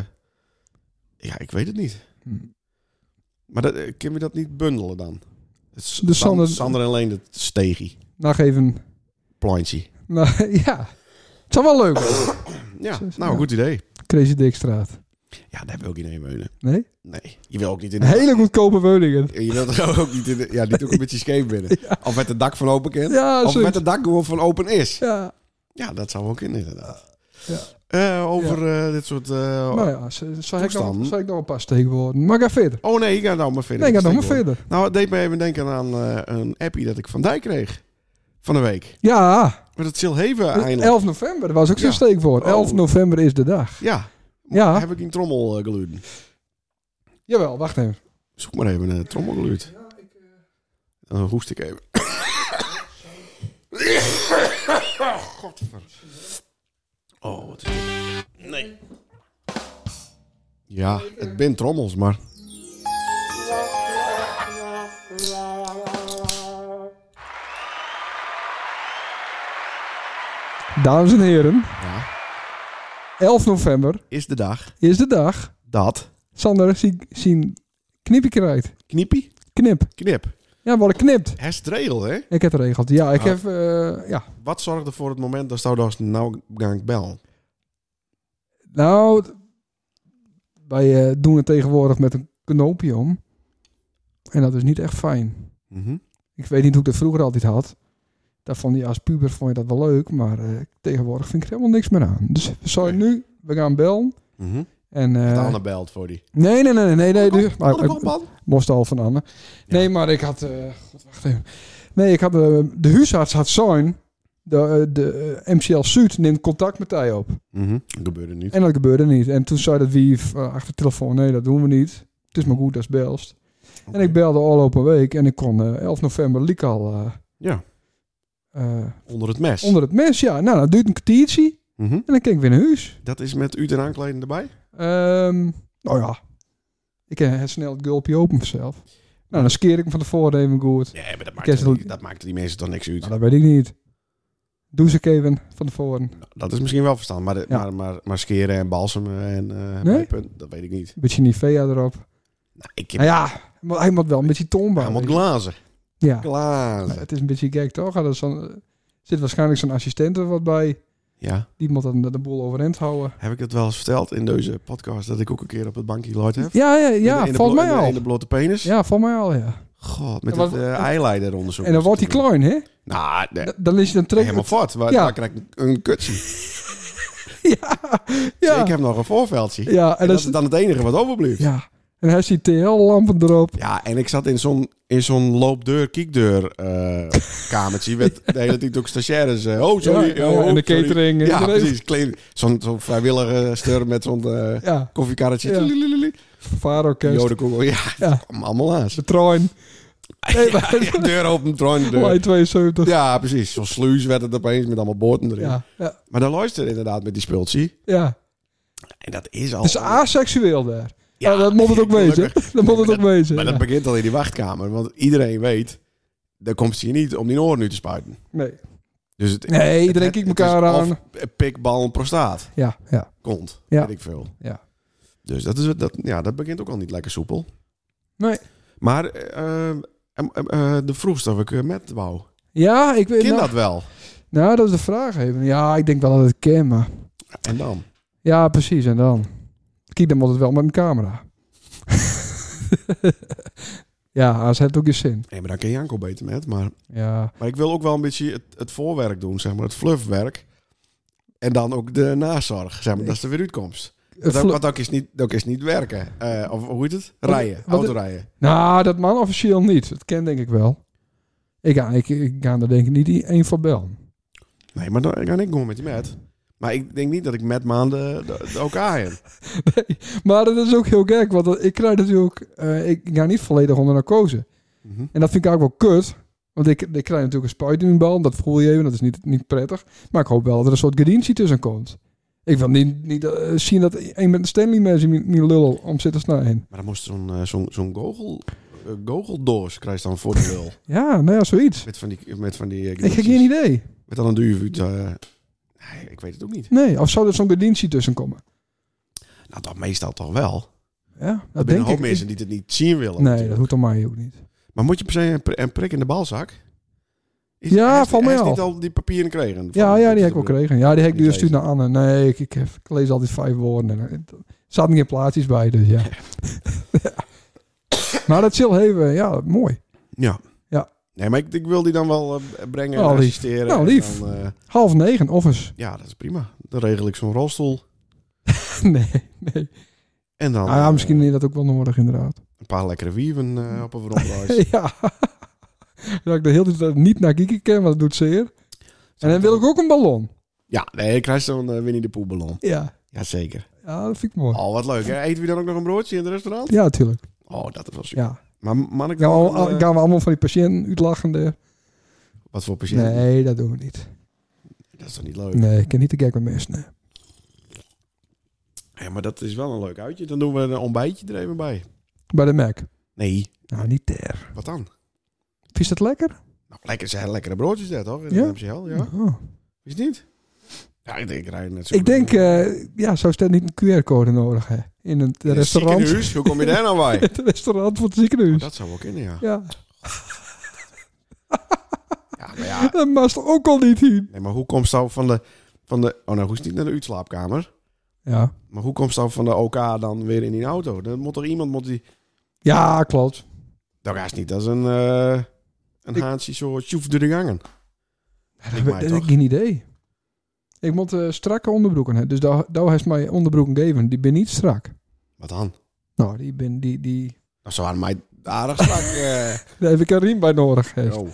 B: ja, ik weet het niet.
A: Hm.
B: Maar dat, eh, kunnen we dat niet bundelen dan? Het is
A: De
B: San-
A: Sander-
B: Sander en Leen, het stegie,
A: Nou, even...
B: plantje.
A: Nou, ja. Het zou wel leuk zijn.
B: Ja,
A: Zo is-
B: nou,
A: ja.
B: goed idee.
A: Crazy Dikstraat.
B: Ja, daar wil ik niet in Meulen.
A: Nee?
B: Nee, je wil ook niet in de...
A: Hele goedkope woningen.
B: Je wilt er ook niet in de... Ja, die ook een beetje scheef binnen. Of met het dak van open kent.
A: Ja,
B: of met
A: zoiets.
B: het dak gewoon van open is.
A: Ja.
B: Ja, dat zou ook kunnen, inderdaad.
A: Ja.
B: Eh, over eh, dit soort... eh,
A: Nou ja, z- zal ik,
B: Toestand.
A: nog, zal ik nog een paar steekwoorden? Maar ga verder.
B: Oh nee, ik ga nou maar verder.
A: Nee, ik ga nog maar
B: Steek door.
A: verder.
B: Nou, het deed me even denken aan eh, een appie dat ik van Dijk kreeg. Van de week.
A: Ja,
B: Met het Silheven eindelijk.
A: 11 november. Dat was ook zo'n
B: Ja.
A: steekwoord.
B: Oh.
A: 11 november is de dag.
B: Ja.
A: Ja.
B: Heb ik een trommel eh, geluiden?
A: Jawel, wacht even.
B: Zoek maar even een trommelgeluid. Dan hoest ik even. Godver. Oh, wat is dit? Nee. Ja, het ben trommels, maar...
A: Dames en heren,
B: Ja,
A: 11 november
B: is de dag
A: is de dag.
B: dat...
A: Sander zie- zien knipje krijgt.
B: Kniepie?
A: Knip.
B: Knip.
A: Ja, worden knipt.
B: Herstregel, hè?
A: Ik heb het regeld. Ja, ik
B: Ah.
A: heb... eh, ja.
B: Wat zorgde voor het moment dat Stouw dacht, nou ga ik bellen?
A: Nou, d- wij eh, doen het tegenwoordig met een knoopje om. En dat is niet echt fijn.
B: Mhm.
A: Ik weet niet hoe ik dat vroeger altijd had. Dat vond je als puber vond je dat wel leuk, maar eh, tegenwoordig vind ik er helemaal niks meer aan. Dus sorry,
B: Nee.
A: nu, we gaan bellen. En, eh,
B: Mhm. De Anne belt voor die.
A: nee, nee, nee, nee, nee. nee dus- maar,
B: Anne, kom, man.
A: Moest al van Anne. Nee, maar ik had... eh, God, wacht even. Nee, ik had... eh, de huisarts had zo'n... De, eh, de eh, MCL Zuid neemt contact met hij op.
B: Dat gebeurde niet.
A: En dat gebeurde niet. En toen zei dat wie eh, achter de telefoon... Nee, dat doen we niet. Het is maar goed, dat is belst. En ik belde al op een week. En ik kon eh, 11 november liek al... eh,
B: Ja.
A: eh,
B: Onder het mes.
A: onder het mes, ja. Nou, dat duurt een kwartiertje.
B: Mhm.
A: En dan ging ik weer naar huis.
B: Dat is met u ten aankleden erbij?
A: Ehm, nou ja. Ik heb heel snel het gulpje open vanzelf. Nou, dan skeer ik hem van tevoren even goed.
B: Nee, maar dat
A: Ik
B: maakt,
A: heb het-
B: die, dat maakt die mensen toch niks uit.
A: Nou, dat weet ik niet. Doe ze ik even van tevoren.
B: Dat is misschien wel verstaan, maar, de-
A: Ja.
B: maar, maar, maar skeren en balsemen en eh,
A: Nee?
B: pijpen, dat weet ik niet.
A: Een beetje Nivea erop.
B: Nou, ik heb
A: Nou ja, maar hij moet wel een beetje toonbaar.
B: helemaal glazen.
A: Ja. Nou,
B: Glazen.
A: Het is een beetje gek toch? Er is zo'n- er zit waarschijnlijk zo'n assistent er wat bij.
B: Ja.
A: Die moet dan de boel overeind houden.
B: Heb ik dat wel eens verteld in deze podcast dat ik ook een keer op het bankje geluid heb?
A: Ja, ja,
B: In de-
A: ja
B: in de
A: volgens
B: blo-
A: mij
B: in de-
A: al.
B: In de blote penis?
A: Ja, volgens mij al, ja.
B: God, met
A: En wat-
B: het eh, eyeliner onderzoek.
A: En dan wordt hij klein, hè?
B: Nou, nee.
A: Da- Dan is je dan trek.
B: helemaal fort. Waar,
A: Ja.
B: Daar krijg ik een kutje.
A: Ja,
B: Ik heb nog een voorveldje.
A: ja,
B: En
A: en
B: dat
A: dan,
B: is dan het enige wat overblijft. Ja.
A: ja. En hij ziet TL-lampen erop.
B: en ik zat in zo'n, in zo'n loopdeur, kiekdeur eh kamertje. Met de hele tijd ook stagiaires. eh, oh, sorry.
A: Ja, ja,
B: oh,
A: en de
B: sorry.
A: catering en
B: Ja,
A: iedereen.
B: precies. Klein, zo'n, zo'n vrijwillige steur met zo'n eh
A: Ja,
B: koffiekarretje.
A: Ja.
B: Lulululu.
A: vaarorkest.
B: Jodenkogel. Ja,
A: Ja.
B: kom allemaal aan.
A: De trein. Nee,
B: Ja,
A: maar- Oh,
B: ja, deur open, troon
A: Lijn
B: deur.
A: 72.
B: Ja, precies. Zo'n sluis werd het opeens met allemaal boorten erin.
A: Ja, ja,
B: Maar dan luister inderdaad met die spultje.
A: ja.
B: En dat is al...
A: Het is aseksueel daar.
B: Oh. Ja,
A: Ja, dat moet het ook wezen.
B: gelukkig.
A: Dat moet het
B: Maar
A: ook wezen.
B: Maar
A: ja.
B: dat begint al in die wachtkamer, want iedereen weet, daar komt ze hier niet om die oren nu te spuiten.
A: Nee.
B: Dus het,
A: Nee,
B: het-
A: iedereen
B: het-
A: kijkt
B: het
A: elkaar
B: is
A: aan.
B: Of pikbal, prostaat,
A: Ja, ja.
B: kont,
A: Ja.
B: weet ik veel.
A: Ja.
B: Dus dat, is, dat, ja, dat begint ook al niet lekker soepel.
A: Nee.
B: Maar eh, eh, eh, eh, de vroegste of ik eh, met wou,
A: Ja, ik weet
B: ken
A: nou,
B: dat wel?
A: nou, dat is de vraag even. Ja, ik denk wel dat het kan, maar...
B: En dan?
A: Ja, precies. En dan? Kijk, dan moet het wel met een camera. Ja, AZ heeft ook je zin.
B: Nee, maar daar ken Janko beter met. Maar,
A: Ja,
B: maar ik wil ook wel een beetje het, het voorwerk doen, zeg maar. Het fluffwerk. En dan ook de nazorg, zeg maar. Dat is de weeruitkomst.
A: Het
B: Dat-
A: vlo-
B: Want ook is niet, dat is niet werken. Eh, of hoe heet het? Rijden.
A: wat-
B: autorijden.
A: Nou, dat man officieel niet. Dat ken denk ik wel. Ik ga, ik, ik ga er denk ik niet i- één van bellen.
B: Nee, maar dan kan ik gewoon met je met. Maar ik denk niet dat ik met maanden de, de elkaar heb.
A: Maar dat is ook heel gek, want dat- ik krijg natuurlijk... eh, ik ik ga niet volledig onder narcose.
B: Mhm.
A: En dat vind ik eigenlijk wel kut. Want ik, ik krijg natuurlijk een spuit in mijn bal. Dat voel je even, dat is niet, niet prettig. Maar ik hoop wel dat er een soort gedientie tussen komt. Ik wil niet, niet eh, zien dat een met een Stanley mes in mijn- mijn lul om zit te snijden.
B: Maar dan moest zo'n eh, zo'n zo'n gogel, eh, gogeldoos krijg je dan voor de lul.
A: Ja, nou ja, zoiets.
B: met van die... Met van die eh,
A: Ik heb
B: glitches.
A: geen idee.
B: Met dan een duur... eh, nee, ik weet het ook niet.
A: Nee, of zou er zo'n gedientie tussen komen?
B: Nou, dat meestal toch wel.
A: Ja, dat
B: Er zijn
A: denk
B: een hoop
A: ik.
B: mensen die het niet zien willen.
A: Nee, dat
B: natuurlijk.
A: hoeft dan mij ook niet.
B: Maar moet je per se een, pri- een prik in de balzak? Is,
A: Ja,
B: hij is-
A: van
B: hij
A: mij
B: is
A: al.
B: niet al die papieren kregen.
A: Ja, ja, die heb ik wel gekregen. Ja, die heb ik
B: Niet
A: nu gestuurd naar
B: lezen.
A: Anne. Nee, ik, ik, heb, ik lees altijd vijf woorden. En, eh, er zaten geen plaatjes bij, dus ja. Ja. Maar dat chill hebben, ja, mooi.
B: Ja.
A: Ja.
B: Nee, maar ik, ik wil die dan wel eh, brengen
A: Oh,
B: en
A: lief.
B: assisteren.
A: Nou,
B: en
A: lief.
B: dan, eh,
A: Half negen, offers.
B: ja, dat is prima. Dan regel ik zo'n rolstoel.
A: Nee, nee.
B: En dan
A: Ah, ja,
B: eh,
A: misschien is dat ook wel nodig, inderdaad.
B: een paar lekkere wieven eh, op een rondreis.
A: Ja. Dat ik de hele tijd niet naar Kiki ken, want dat doet zeer. En dan wil ik ook een ballon.
B: Ja, nee, ik krijg zo'n eh, Winnie de Pooh ballon.
A: Ja.
B: Jazeker.
A: Ja, dat vind ik mooi.
B: Oh, wat leuk. Hè? Eten we dan ook nog een broodje in het restaurant?
A: Ja, natuurlijk.
B: Oh, dat is wel super.
A: Ja.
B: Maar man, ik
A: Gaan
B: dan
A: we,
B: ook
A: al-
B: een, eh,
A: gaan we allemaal van die patiënten uitlachen? daar?
B: Wat voor patiënt?
A: Nee, dat doen we niet.
B: Dat is toch niet leuk?
A: Nee, ik ken niet de gek met mensen. nee.
B: Ja, maar dat is wel een leuk uitje. Dan doen we een ontbijtje er even bij.
A: Bij de Mac.
B: Nee,
A: Nou, niet ter.
B: wat dan?
A: Vind je dat lekker?
B: Nou, lekker, zijn lekkere broodjes daar, toch? In
A: Ja?
B: ja? MCL, ja.
A: Oh.
B: Is het niet? Ja, ik denk, ik rij net zo.
A: Ik denk, eh, ja, zo staat niet een QR-code nodig, hè? In het
B: In een
A: restaurant.
B: ziekenhuis? Hoe kom je daar nou bij?
A: Het restaurant van het ziekenhuis.
B: Oh, dat zou wel kunnen, ja.
A: Ja,
B: Ja, maar ja.
A: dat mag er ook al niet heen.
B: Nee, maar hoe komt ze nou van de, van de... Oh, nou, hoe is het niet naar de uitslaapkamer?
A: Ja,
B: Maar hoe komt ze nou van de OK dan weer in die auto? Dan moet toch iemand... Moet die...
A: ja klopt.
B: Dat is niet. Dat is een... eh een
A: Ik-
B: haantje zo tjoef door de gangen.
A: Ja,
B: Lijkt
A: Dat
B: mij
A: heb ik
B: toch?
A: geen idee. Ik moet eh, strakke onderbroeken hebben. Dus daar daar heeft mij onderbroeken gegeven. Die ben niet strak.
B: Wat dan?
A: Nou, die ben, die, die...
B: Nou, zo aan mij aardig Oh, strak. eh.
A: Daar heb ik een riem bij nodig. hè.
B: Yo.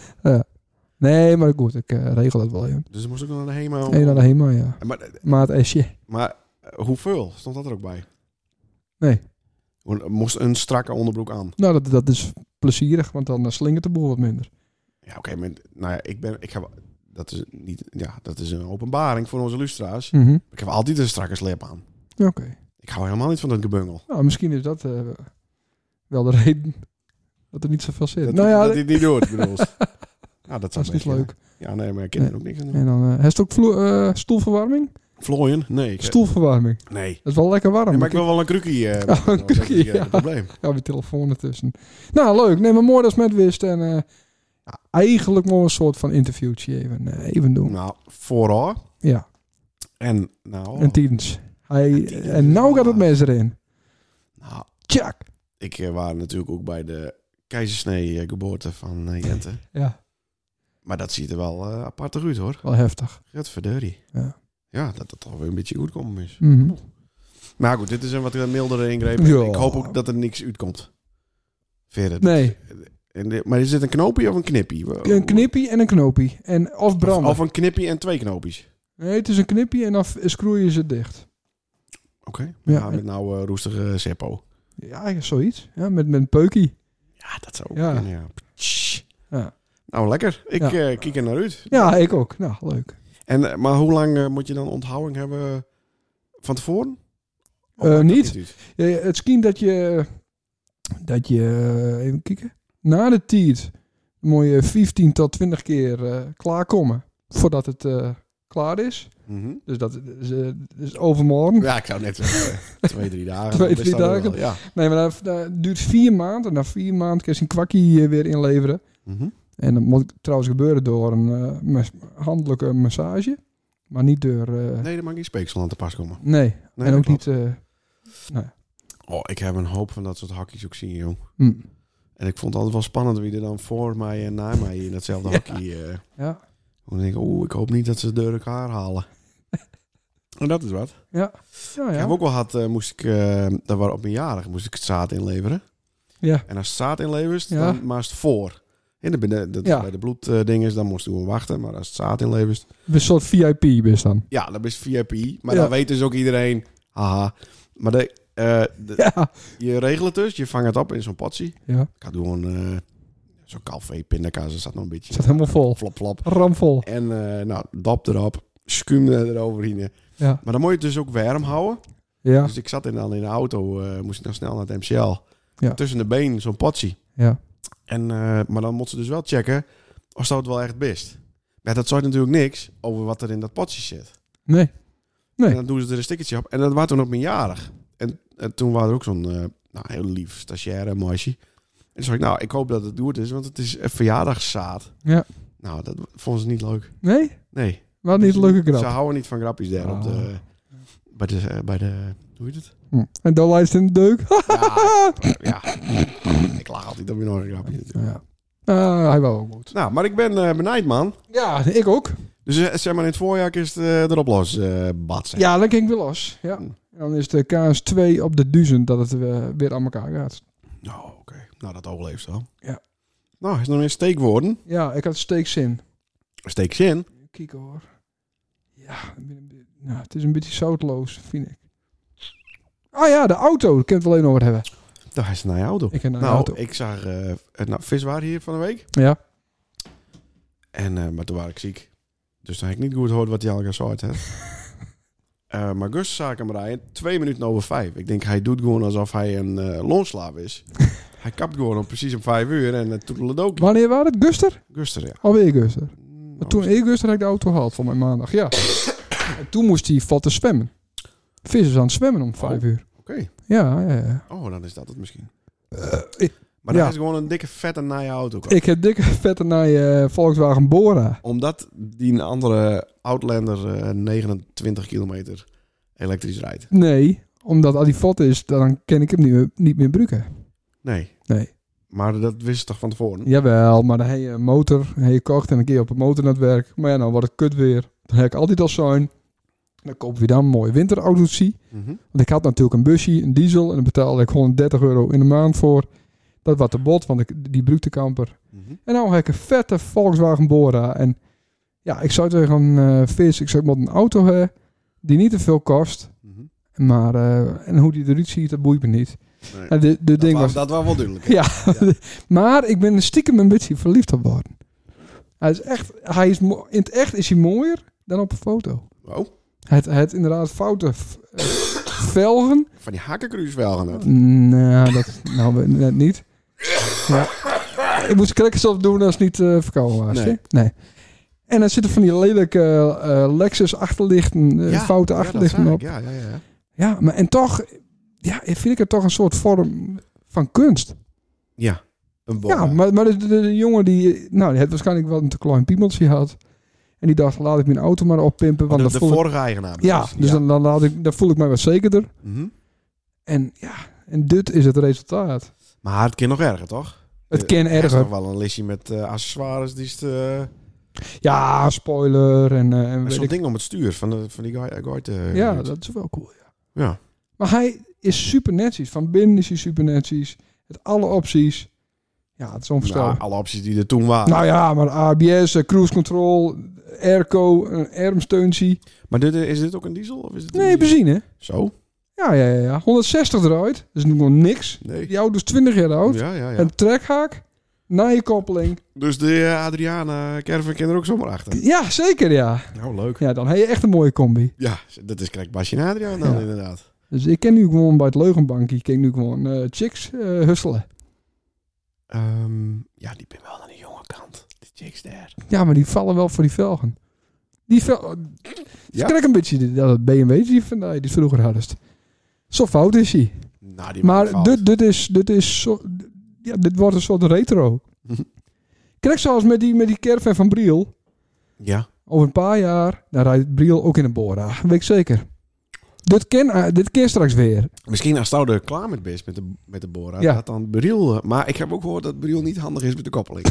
A: Nee, maar goed, ik eh, regel dat wel, joh.
B: Dus er moest ook nog naar de HEMA. om-
A: Eén naar de HEMA, ja.
B: Maar,
A: Maat Esje.
B: maar eh, hoeveel? Stond dat er ook bij?
A: Nee.
B: Gewoon, er Moest een strakke onderbroek aan?
A: Nou, dat, dat is plezierig, want dan eh, slingert de boel wat minder.
B: Ja, oké, maar nou ja, ik ben, ik heb, dat is niet, ja, dat is een openbaring voor onze lustra's.
A: Mhm.
B: Ik heb altijd een strakke slip aan.
A: Oké.
B: Ik hou helemaal niet van dat gebungel.
A: Nou, misschien is dat eh, wel de reden dat er niet zoveel zit.
B: Dat,
A: nou ja,
B: dat
A: dat,
B: dit niet doet, bedoel. Ja, dat, zou
A: is niet
B: best kunnen.
A: leuk.
B: Ja, nee, maar kinderen ook niks aan doen.
A: En dan, eh heeft het ook vloer- eh, stoelverwarming?
B: Vlooien? Nee. Ik,
A: Stoelverwarming.
B: Nee.
A: Dat is wel lekker warm.
B: Ja, maar ik wil wel een krukkie. eh,
A: Ja, Oh, een
B: dat is
A: krukkie,
B: niet, eh,
A: ja.
B: het probleem.
A: Ja, mijn telefoon ertussen. Nou, leuk. Nee, maar mooi dat ze met wist. En eh, ja, eigenlijk mooi een soort van interviewtje even, eh, even doen.
B: Nou, vooral.
A: Ja,
B: En nou,
A: en tiens. Hij,
B: Ja, tiens.
A: en nou gaat het mes erin.
B: nou
A: Tjak.
B: ik eh, was natuurlijk ook bij de keizersnee eh, geboorte van eh, Jente.
A: Ja,
B: Maar dat ziet er wel eh, apart uit hoor.
A: wel heftig.
B: Gadverdurrie.
A: Ja.
B: Ja, dat het toch weer een beetje goed komt is.
A: Mhm.
B: Maar goed, dit is een wat mildere ingreep.
A: Ja.
B: Ik hoop ook dat er niks uitkomt. Verder.
A: Nee,
B: En de- maar is dit een knoopje of een knippie?
A: een knippie en een knoopie. En of
B: oh. Of,
A: branden.
B: of een knippie en twee knoopjes.
A: Nee, het is een knippie en dan scroeien ze het dicht.
B: Oké.
A: Ja.
B: Ja, met nou eh, roestige seppo.
A: Ja, zoiets. Ja, met, met een peukie.
B: Ja, dat zou ook
A: Ja.
B: kunnen, ja. Ptsch.
A: Ja.
B: Nou, lekker. Ik
A: Ja.
B: eh, kijk er naar uit.
A: Ja, ik ook. Nou, leuk.
B: En, eh, maar hoe lang eh, moet je dan onthouding hebben eh, van tevoren? Of
A: Eh,
B: maakt Oh, dat
A: niet.
B: uit?
A: Ja, ja, het schijnt dat je... Dat je... eh, Even kijken. Na de tijd moet je 15 tot 20 keer eh, klaarkomen. Voordat het eh, klaar is.
B: Mhm.
A: Dus dat is, eh, is overmorgen.
B: Ja, ik zou net zeggen. eh, twee, drie dagen.
A: Twee,
B: dan is
A: drie
B: dat wel, eh,
A: dagen.
B: Ja.
A: Nee, maar dat, dat duurt vier maanden. En na vier maanden kun je een kwakkie eh, weer inleveren.
B: Mhm.
A: En dat moet trouwens gebeuren door een eh, mes- handelijke massage. Maar niet door... eh, nee.
B: Nee, dan mag geen speeksel aan te pas komen. Nee,
A: en
B: dat
A: ook
B: klopt.
A: niet... eh, nou ja.
B: Oh, ik heb een hoop van dat soort hakjes ook zien, jong.
A: Hm.
B: En ik vond het altijd wel spannend wie er dan voor mij en na mij in datzelfde hockey... eh
A: Ja.
B: dan denk ik, oeh, ik hoop niet dat ze het door elkaar halen.
A: Oh,
B: En dat is wat.
A: Ja, Oh,
B: Ik
A: ja.
B: heb ook wel gehad, eh, moest ik, eh dat was op mijn jarig, moest ik het zaad inleveren.
A: Ja.
B: En als het zaad inlevert,
A: Ja.
B: dan maar is het voor. En dan ben je- dat
A: Ja.
B: bij de bloedding is, dan moest je gewoon wachten. Maar als het zaad inlevert,
A: Een soort VIP best dan.
B: ja, dan is het VIP. Maar
A: Ja.
B: dan weet dus ook iedereen, haha. Maar de, eh, de-
A: Ja.
B: je regelt het dus, je vangt het op in zo'n potje.
A: Ja.
B: Ik had gewoon eh, zo'n café, pindakaas, er zat nog een beetje
A: Het zat helemaal vol.
B: flap flap.
A: Ramvol.
B: En eh, nou, dap erop, schuim eroverheen.
A: Ja.
B: Maar dan moet je het dus ook warm houden.
A: Ja.
B: Dus ik zat in, dan in de auto, eh, moest ik dan snel naar het MCL.
A: Ja.
B: Tussen de been, zo'n potje.
A: Ja.
B: En, eh, maar dan moet ze dus wel checken of dat het wel echt best. Ja, dat zegt natuurlijk niks over wat er in dat potje zit.
A: Nee. Nee.
B: En dan doen ze er een stickertje op. En dat was toen op mijn jarig. En, en toen was er ook zo'n eh, nou, heel lief stagiaire meisje. En toen zei ik, nou, ik hoop dat het goed is, want het is een verjaardagszaad.
A: Ja.
B: Nou, dat vonden ze niet leuk.
A: Nee?
B: Nee.
A: Wat niet een leuke
B: Ze
A: grap.
B: houden niet van grapjes daar op de...
A: Oh.
B: Bij de, eh, bij de... Hoe heet het?
A: Hm. En dan lijst in de deuk.
B: Ja, ja. ik lach altijd op je nog een grapje. natuurlijk.
A: Ja. Ah, hij wou ook goed.
B: Nou, maar ik ben eh benijd, man.
A: Ja, ik ook.
B: Dus eh, zeg maar, in het voorjaar is het eh, erop los, eh batsen.
A: Ja, dan ging ik weer los. Ja. En dan is de KS2 op de duizend dat het eh, weer aan elkaar gaat.
B: Nou, oké. Nou, dat overleeft wel.
A: Ja.
B: Nou, is er nog meer steekwoorden?
A: Ja, ik had steekzin.
B: Steekzin?
A: Kieken hoor. Ja, ik ben een beetje- nou, het is een beetje zoutloos, vind ik. Ah ja, de auto. Ik kan het wel even over hebben.
B: Daar is het naar je auto.
A: Ik heb een
B: nou,
A: auto.
B: ik zag eh eh, nou, viswaar hier van de week.
A: Ja.
B: En, eh, maar toen was ik ziek. Dus dan heb ik niet goed gehoord wat hij al gezegd heeft. Eh, maar Gus zag hem rijden, twee minuten over vijf. Ik denk, hij doet gewoon alsof hij een eh loonslaaf is. hij kapt gewoon om precies om vijf uur en uh, toeteledokie.
A: Wanneer was het? Guster?
B: Guster, ja.
A: Alweer Guster. Maar
B: Nou,
A: toen ik Guster had ik de auto gehaald van mijn maandag. Ja. en toen moest hij vatten zwemmen. Vissers aan het zwemmen om vijf uur.
B: Oh, Oké. Eh,
A: Ja, ja, ja.
B: Oh, dan is dat het misschien.
A: ik-
B: maar dan
A: ja.
B: is gewoon een dikke, vette naaie auto. komen.
A: Ik heb dikke vetten naar je Volkswagen Bora.
B: Omdat die een andere Outlander eh, 29 kilometer elektrisch rijdt.
A: Nee, omdat al die vat is, dan kan ik hem niet meer, niet meer gebruiken.
B: Nee.
A: Nee.
B: Maar dat wist ze toch van tevoren?
A: Jawel, maar dan heb je een motor, dan heb je kocht en een keer op een motor naar het werk. Maar ja, dan wordt het kut weer. Dan heb ik altijd al zijn. Dan koop je dan een mooie winterautootje.
B: Mhm.
A: Want ik had natuurlijk een busje, een diesel. En daar betaalde ik 130 euro in de maand voor. Dat was te bot, want ik, die brukte kamper.
B: Mhm.
A: En nou heb ik een vette Volkswagen Bora. En ja, ik zou tegen een eh, vis, ik zou moet een auto hebben die niet te veel kost.
B: Mhm.
A: Maar eh, en hoe die eruit ziet, dat boeit me niet.
B: Nee.
A: En de, de
B: Dat,
A: ding
B: was,
A: was,
B: dat was wel duidelijk.
A: Ja, maar ik ben er stiekem een beetje verliefd op geworden. Hij is echt, hij is, mo- in het echt is hij mooier dan op een foto.
B: Wow.
A: Het, het inderdaad foute v- eh, velgen.
B: Van die hakkenkruis wel gaan het.
A: Nou, dat nou we- net niet. Ja. Ik moest crackers op doen als het niet eh verkouden was.
B: Nee.
A: hè? nee. En dan zitten van die lelijke eh, Lexus achterlichten, eh, foute achterlichten op.
B: Ja, ja, ja.
A: Ja, maar en toch ja, vind ik het toch een soort vorm van kunst.
B: Ja, een bom.
A: Ja, maar, maar de, de- de jongen die, nou, die had waarschijnlijk wel een te klein piemeltje had. En die dacht, laat ik mijn auto maar oppimpen. Want
B: de,
A: dan
B: de
A: voel ik-
B: vorige eigenaar.
A: ja, dus Dan, dan, laat ik, dan voel ik mij wat zekerder.
B: Mhm.
A: En ja, en dit is het resultaat.
B: Maar het kan nog erger, toch?
A: Het
B: Eh,
A: kan
B: Er is nog
A: erger.
B: wel een listje met eh, accessoires die is
A: Ja, spoiler en, eh, en weet
B: zo'n
A: ik.
B: ding om het stuur van, de, van die guy. guy te,
A: Ja, dat is wel cool. Ja.
B: ja.
A: Maar hij is super netjes. Van binnen is hij super netjes. Met alle opties. Ja, het is
B: Nou,
A: onvoorstelbaar.
B: alle opties die er toen waren.
A: Nou ja, maar ABS, eh, cruise control, airco, een armsteuntje.
B: Maar dit, eh, is dit ook een diesel? Of is het een
A: Nee,
B: benzine?
A: benzine.
B: Zo?
A: Ja, ja, ja, ja. 160 eruit. Dat is nog niks.
B: Nee.
A: Die auto is 20 jaar oud.
B: Ja, ja, ja.
A: Een trekhaak. Na je koppeling.
B: Dus de eh, Adriana Caravan kan er ook zomaar achter.
A: Ja, zeker ja.
B: Nou, leuk.
A: Ja, dan heb je echt een mooie combi.
B: Ja, dat is kijk Basje en Adriaan dan
A: Ja.
B: inderdaad.
A: Dus ik ken nu gewoon bij het leugenbankje. Ik ken nu gewoon eh, chicks eh husselen.
B: Ehm, ja, die ben wel aan de jonge kant. De chicks daar.
A: Ja, maar die vallen wel voor die velgen. Die velgen...
B: Ja.
A: Ja. krijg een beetje die- dat BMW die van eh, die het vroeger hadden. Zo fout is hij.
B: Nou, die
A: Maar
B: maakt
A: dit, dit is, dit is zo, ja, dit wordt een soort retro. Kijk zoals met die, met die caravan van Briel.
B: Ja.
A: Over een paar jaar, dan rijdt Briel ook in een Bora. Weet ik zeker. Dit ken, eh, dit keer straks weer.
B: Misschien als Stouw er klaar met bent met de, met de Bora,
A: Ja.
B: dat dan Briel... eh, Maar ik heb ook gehoord dat Briel niet handig is met de koppeling.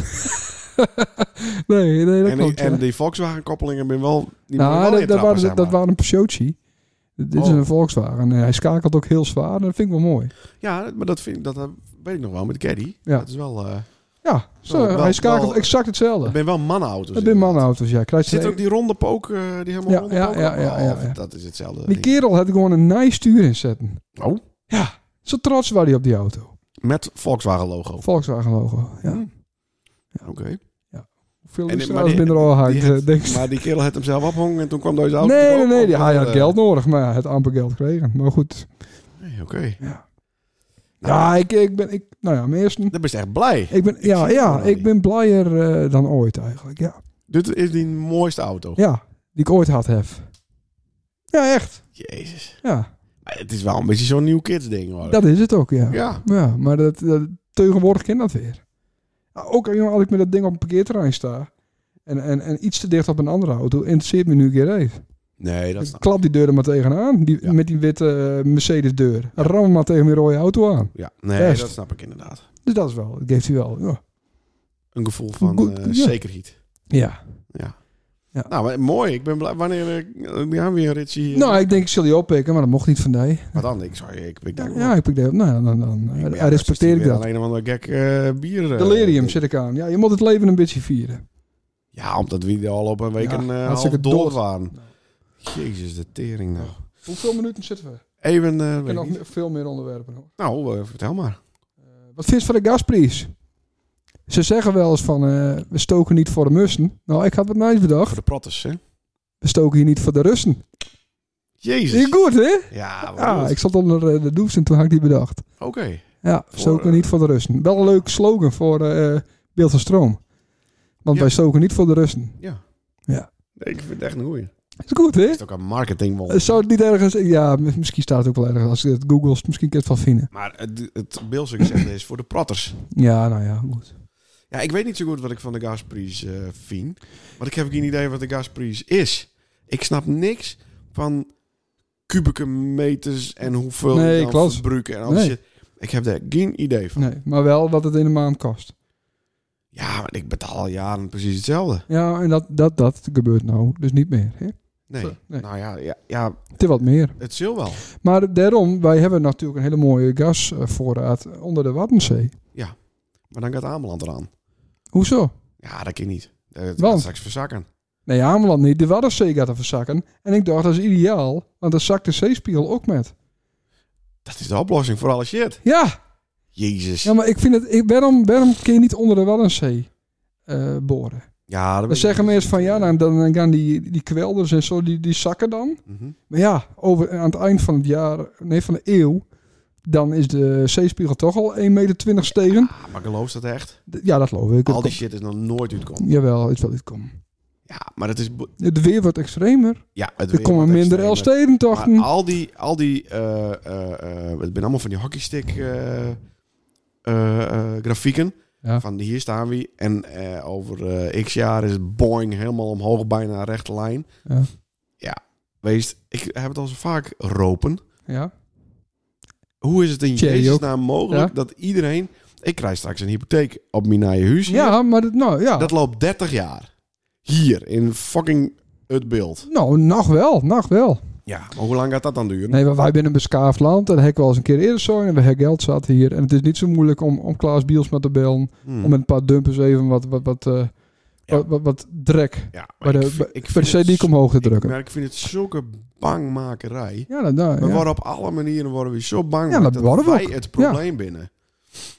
A: Nee, nee dat
B: en, die,
A: klopt. ja.
B: en die Volkswagen-koppelingen ben wel... Die moeten wel
A: nou, dat, dat,
B: intrappen,
A: waren,
B: zeg
A: dat
B: maar.
A: waren een Peugeotje. Dit is
B: Oh.
A: een Volkswagen. En hij schakelt ook heel zwaar. Dat vind ik wel mooi.
B: Ja, maar dat, vind, ik- dat eh, weet ik nog wel met Caddy.
A: Ja.
B: Dat is wel... eh
A: Ja, zo,
B: Wel- wel-
A: hij schakelt
B: wel-
A: exact hetzelfde.
B: dat ben wel mannenauto's.
A: Dat zijn
B: inderdaad.
A: manauto's, ja. Krijgt
B: Zit
A: ze-
B: er ook die ronde pook, eh, die helemaal
A: Ja,
B: ronde
A: ja,
B: pook?
A: ja, ja,
B: Oh,
A: ja, ja.
B: Dat is hetzelfde.
A: Die kerel had gewoon een nice stuur in zetten.
B: Oh,
A: Zo trots was hij op die auto.
B: met Volkswagen logo.
A: Volkswagen logo. Ja.
B: Oké.
A: Hoeveel
B: Hmm. En- maar
A: luisteraars
B: die-
A: binnen al
B: die
A: haakt,
B: had-
A: eh, denk ik.
B: Maar die kerel had hem zelf ophangen en toen kwam deze auto
A: Nee, nee,
B: erop,
A: nee. Die,
B: of,
A: hij had
B: eh,
A: geld nodig, maar hij had amper geld gekregen. Maar goed.
B: nee, Oké. Nou,
A: Ja, ik, ik ben... Ik, nou ja, mijn eerste...
B: Dan ben je echt blij.
A: Ik ben, ja,
B: zie het
A: ja,
B: wel
A: ik
B: niet.
A: ben blijer eh, dan ooit eigenlijk. Ja.
B: Dit is die mooiste auto.
A: ja, die ik ooit had heb. Ja, echt.
B: Jezus.
A: Ja,
B: Maar het is wel een beetje zo'n nieuw kids ding hoor.
A: dat is het ook, ja. Ja,
B: Oh. ja.
A: maar dat, dat, tegenwoordig ken dat weer. Nou, Ook jongen, als ik met dat ding op een parkeerterrein sta... En, en, en iets te dicht op een andere auto, interesseert me nu geen reet.
B: Nee, dat
A: Ik
B: snap ik.
A: klap die deur er maar tegenaan, die,
B: Ja.
A: met die witte eh, Mercedes-deur. Ram hem maar tegen mijn rode auto aan.
B: Ja, nee,
A: Best.
B: dat snap ik inderdaad.
A: Dus dat is wel, dat geeft hij wel. Ja.
B: Een gevoel van
A: Goed,
B: eh,
A: ja.
B: zekerheid.
A: ja.
B: Nou, maar mooi. Ik ben blij. Wanneer eh, ja, weer Ritchie? eh,
A: Nou, ik denk, ik zal die oppikken, maar dat mocht niet van die.
B: Wat dan? Ik zou ik, ik denk,
A: Ja, ik pik dat. Nou, dan, dan,
B: Ik ben-
A: eh, respecteer ik
B: weer
A: dat.
B: Alleen maar een gek eh, bier. eh,
A: Delirium
B: ding.
A: zit ik aan. Ja, je moet het leven een beetje vieren.
B: Ja, omdat we er al op een week
A: Ja,
B: een eh
A: hartstikke
B: half dood
A: dood.
B: waren. Jezus, de tering nou.
A: Hoeveel minuten zitten we? Ik
B: Even, eh, weet
A: kan nog
B: niet.
A: me- veel meer onderwerpen. Hoor.
B: nou, eh, vertel maar.
A: Eh, wat vind je van de gasprijs? Ze zeggen wel eens van, eh, we stoken niet voor de mussen. Nou, ik had wat nice
B: Voor
A: bedacht.
B: de prottes, hè?
A: We stoken hier niet voor de Russen. Is
B: Jezus.
A: je goed, hè?
B: Ja, wat
A: Ja,
B: goed.
A: ik zat onder eh, de doeps en toen had ik die bedacht.
B: Oké.
A: Ja,
B: Voor,
A: stoken
B: eh,
A: niet voor de Russen. Wel een leuk slogan voor eh Beeld van Stroom. Want
B: Ja.
A: wij stoken niet voor de Russen.
B: Ja.
A: Ja.
B: Nee, ik vind het echt een goeie.
A: Is goed, hè?
B: Het is ook een marketingwol.
A: Eh, Zou het niet ergens... Ja, m- misschien staat het ook wel ergens. Als je het googelt, misschien kun je het wel vinden.
B: Maar het, het Beelse gezegd is voor de protters.
A: Ja, nou ja, goed.
B: Ja, ik weet niet zo goed wat ik van de gasprijs eh, vind. Want ik heb geen idee wat de gasprijs is. Ik snap niks van kubieke meters en hoeveel
A: Nee,
B: je dan
A: klopt.
B: verbruiken en al die
A: Nee.
B: shit. Ik heb daar geen idee van.
A: Nee, maar wel wat het in de maand kost.
B: Ja, maar ik betaal al jaren precies hetzelfde.
A: Ja, en dat, dat, dat gebeurt nou dus niet meer. Hè?
B: Nee.
A: Zo, nee.
B: Nou ja, ja, ja,
A: Het is wat meer.
B: het zil wel.
A: Maar daarom, wij hebben natuurlijk een hele mooie gasvoorraad onder de Waddenzee.
B: Maar dan gaat Ameland eraan.
A: Hoezo?
B: Ja, dat kan niet. Eh, Het
A: Want?
B: gaat straks verzakken.
A: Nee, Ameland niet. De Waddenzee gaat er verzakken. En ik dacht, dat is ideaal, want dan zakt de zeespiegel ook met.
B: Dat is de oplossing voor alle shit.
A: Ja,
B: Jezus.
A: ja maar ik vind het... Ik, waarom, waarom kun je niet onder de Waddenzee eh, boren?
B: Ja, dat
A: Dan zeggen mensen van, ja, nou. dan, dan gaan die, die kwelders en zo, die, die zakken dan.
B: Mhm.
A: Maar ja, over, aan het eind van het jaar, nee, van de eeuw, dan is de zeespiegel toch al 1,20 meter stegen.
B: Ah, maar geloof je dat echt?
A: D- Ja, dat geloof ik.
B: Al
A: Het
B: die shit is nog nooit
A: komt-
B: uitgekomen.
A: Jawel, het zal niet komen.
B: Ja, maar dat is... bo-
A: Het weer wordt extremer.
B: Ja, het
A: Er
B: weer wordt
A: komen minder
B: extremer.
A: Elstedentochten.
B: Maar al die... Al die eh, eh, eh, het ben allemaal van die hockeystick eh, eh, eh, grafieken.
A: Ja.
B: Van hier staan we. En eh, over eh, x jaar is Boeing helemaal omhoog, bijna een rechte lijn.
A: Ja.
B: ja. Wees, ik heb het al zo vaak ropen.
A: Ja.
B: Hoe is het in
A: Thierry
B: Jezus
A: ook.
B: naam mogelijk
A: Ja.
B: dat iedereen... Ik krijg straks een hypotheek op mijn eigen huis. hier.
A: ja, maar dat, nou ja.
B: Dat loopt 30 jaar. Hier, in fucking het beeld.
A: Nou, nog wel, nog wel.
B: Ja, maar hoe lang gaat dat dan duren?
A: Nee, maar wij zijn een beskaafd land. En dat heb ik wel eens een keer eerder zo. En we hebben geld zat hier. En het is niet zo moeilijk om, om Klaas Bielsma te bellen.
B: Hmm.
A: Om met een paar dumpers even wat, wat, wat, eh,
B: Ja.
A: wat, wat, wat drek
B: ja, maar
A: bij de,
B: vind-
A: bij- bij
B: vind
A: de
B: het
A: CD omhoog te drukken.
B: Maar ik vind het zulke bangmakerij.
A: Ja, dat, nou,
B: We
A: ja.
B: worden op alle manieren worden we zo bang
A: Ja,
B: gemaakt
A: dat worden we
B: wij
A: ook.
B: het probleem binnen.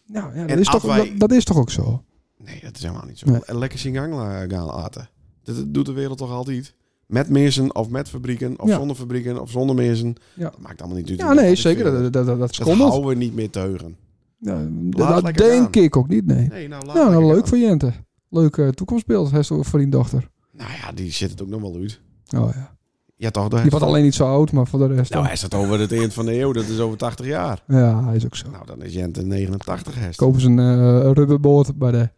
A: Nou, Ja, ja, dat,
B: En
A: is
B: als
A: toch,
B: wij-
A: dat, dat is toch ook zo?
B: Nee, dat is helemaal niet zo.
A: Nee.
B: En Lekker zien gang eh, gaan laten. Dat, dat doet de wereld toch altijd? Met mensen of met fabrieken of
A: Ja.
B: zonder fabrieken of zonder mensen.
A: Ja.
B: Dat maakt allemaal niet uit.
A: Ja, nee,
B: Ik
A: zeker.
B: vind
A: Dat, dat, dat, dat is
B: Dat
A: schommeld.
B: houden we niet meer teugen.
A: Ja,
B: Laat
A: dat
B: lekker
A: denk ik ook niet, nee.
B: Nee, nou, laat
A: nou, nou,
B: lekker
A: leuk
B: gaan.
A: voor Jente. Leuk eh, toekomstbeeld heeft ze voor die dochter.
B: Nou ja, die zit het ook nog wel uit.
A: Oh, ja.
B: Ja, toch?
A: Die wordt alleen niet zo oud, maar voor de rest...
B: Nou,
A: dan-
B: hij staat over het eind van de eeuw. Dat is over 80 jaar.
A: Ja, hij is ook zo.
B: Nou, dan is Jente 89 hest.
A: Kopen ze een eh rubberboot bij de,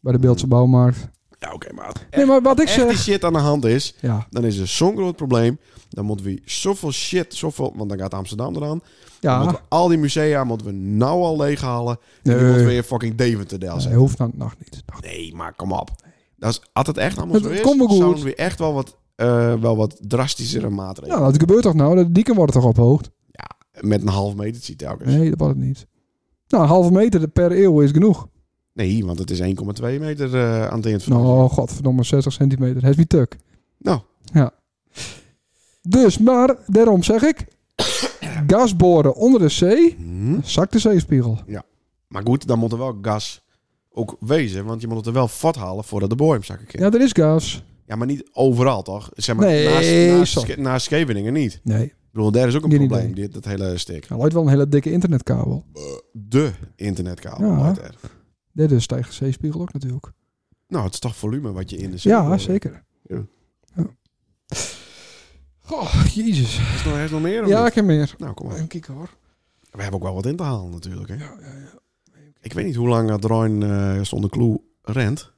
A: bij de Beeldse bouwmarkt.
B: Ja, oké, maar als
A: Nee, maar wat ik
B: echt die
A: zeg...
B: shit aan de hand is,
A: Ja,
B: dan is er zo'n groot probleem. Dan moeten we zoveel shit, zoveel, want dan gaat Amsterdam eraan. Dan moeten
A: ja.
B: we al die musea moeten we nou al leeghalen. En
A: Nee.
B: dan moeten we weer fucking Deventerdel
A: Hij
B: zijn.
A: hoeft dan nog niet. Nog
B: Nee, maar kom op. Dat is, had het echt allemaal
A: Het-
B: zo
A: het
B: is,
A: komt wel goed.
B: zouden we echt wel wat, eh, wel wat drastischere maatregelen.
A: Ja, dat gebeurt toch nou? De dieken worden toch ophoogd?
B: Met een half metertje telkens.
A: Nee, dat wordt het niet. Nou, een halve meter per eeuw is genoeg.
B: Nee, want het is 1,2 meter eh, aan het eind van de-
A: Nou, godverdomme, 60 centimeter. Het is niet tuk.
B: Nou.
A: Ja. Dus, maar, daarom zeg ik... gas boren onder de zee,
B: Hm?
A: zakt de zeespiegel.
B: Maar goed, dan moet er wel gas ook wezen. Want je moet het er wel vat halen voordat de boor hem zakken kan. Ja.
A: Ja, er is gas.
B: maar niet overal toch? Zeg maar,
A: Nee,
B: naast, naast,
A: zo.
B: Ske- naast Scheveningen niet.
A: Nee,
B: Ik bedoel, daar is ook een
A: Geen
B: probleem.
A: idee.
B: Dit, dat hele stik.
A: er loopt wel een hele dikke internetkabel.
B: De internetkabel.
A: Ja.
B: loopt er.
A: Dit is tegen de zeespiegel ook natuurlijk.
B: Nou, het is toch volume wat je in de zee
A: Ja,
B: gooit.
A: zeker.
B: Ja.
A: Ja. Goh, jezus.
B: Is er nog, is er nog meer? of
A: Ja,
B: niet?
A: ik heb meer.
B: Nou, kom maar.
A: Even kijken hoor.
B: We hebben ook wel wat in te halen natuurlijk. Hè? Ik weet niet hoe lang dat Rijn eh, zonder clue rent.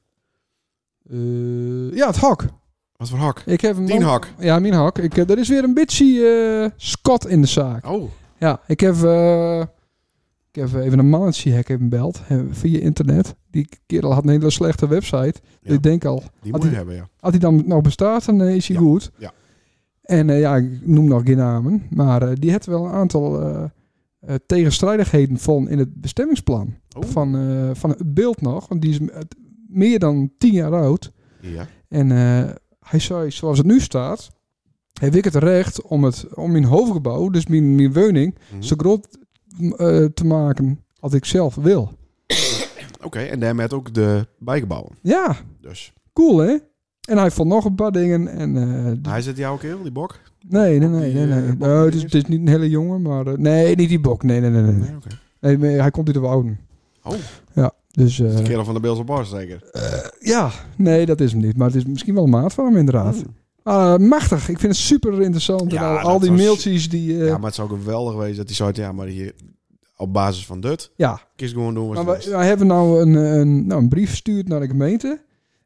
A: Eh, ja, het hak.
B: Wat voor hak?
A: Ik heb hem
B: Tien
A: ook-
B: hak.
A: Ja, mijn hak. Ik, eh, er is weer een bitchie eh Scott in de zaak.
B: Oh.
A: Ja, ik heb, eh, ik heb eh, even een mannetje hek even gebeld eh, via internet. Die kerel had een hele slechte website.
B: Ja.
A: Ik denk al, Had
B: Die moet je
A: Ah, die-
B: hebben, ja.
A: als hij dan nog bestaat, dan eh, is hij
B: Ja,
A: goed.
B: ja.
A: En eh, ja, ik noem nog geen namen. Maar eh, die had wel een aantal eh, eh, tegenstrijdigheden van in het bestemmingsplan.
B: Oh.
A: Van, eh, van het beeld nog. Want die is eh, meer dan tien jaar oud.
B: Ja.
A: En eh, hij zei, zoals het nu staat, heb ik het recht om, het, om mijn hoofdgebouw, dus mijn, mijn woning,
B: Mhm.
A: zo groot m, eh, te maken als ik zelf wil.
B: Oké, en daarmee ook de bijgebouwen.
A: Ja,
B: Dus.
A: cool hè? En hij vond nog een paar dingen. En, eh, d-
B: Hij zit jou ook heel, die bok?
A: nee, nee, nee,
B: die,
A: nee.
B: eh,
A: nee.
B: bok
A: Nou, het, is,
B: dinges?
A: het is niet een hele jongen, maar... eh, nee, niet die bok. Nee, nee, nee. nee, nee.
B: Nee, oké.
A: nee maar hij komt uit de wouden.
B: Oh.
A: Ja, dus... eh,
B: De kerel van de Beelse Bar zeker.
A: ja, nee, dat is hem niet. Maar het is misschien wel een maat van hem inderdaad. Ah, machtig. Ik vind het super interessant.
B: Hmm.
A: en
B: Ja,
A: al,
B: dat
A: al die
B: was-
A: mailtjes die... eh,
B: Ja, maar het zou geweldig wezen dat hij zou ja, maar hier op basis van dit,
A: ja,
B: kies gewoon doen wat
A: Maar
B: je
A: wij,
B: wil.
A: wij hebben nou een, een, nou een brief gestuurd naar de gemeente.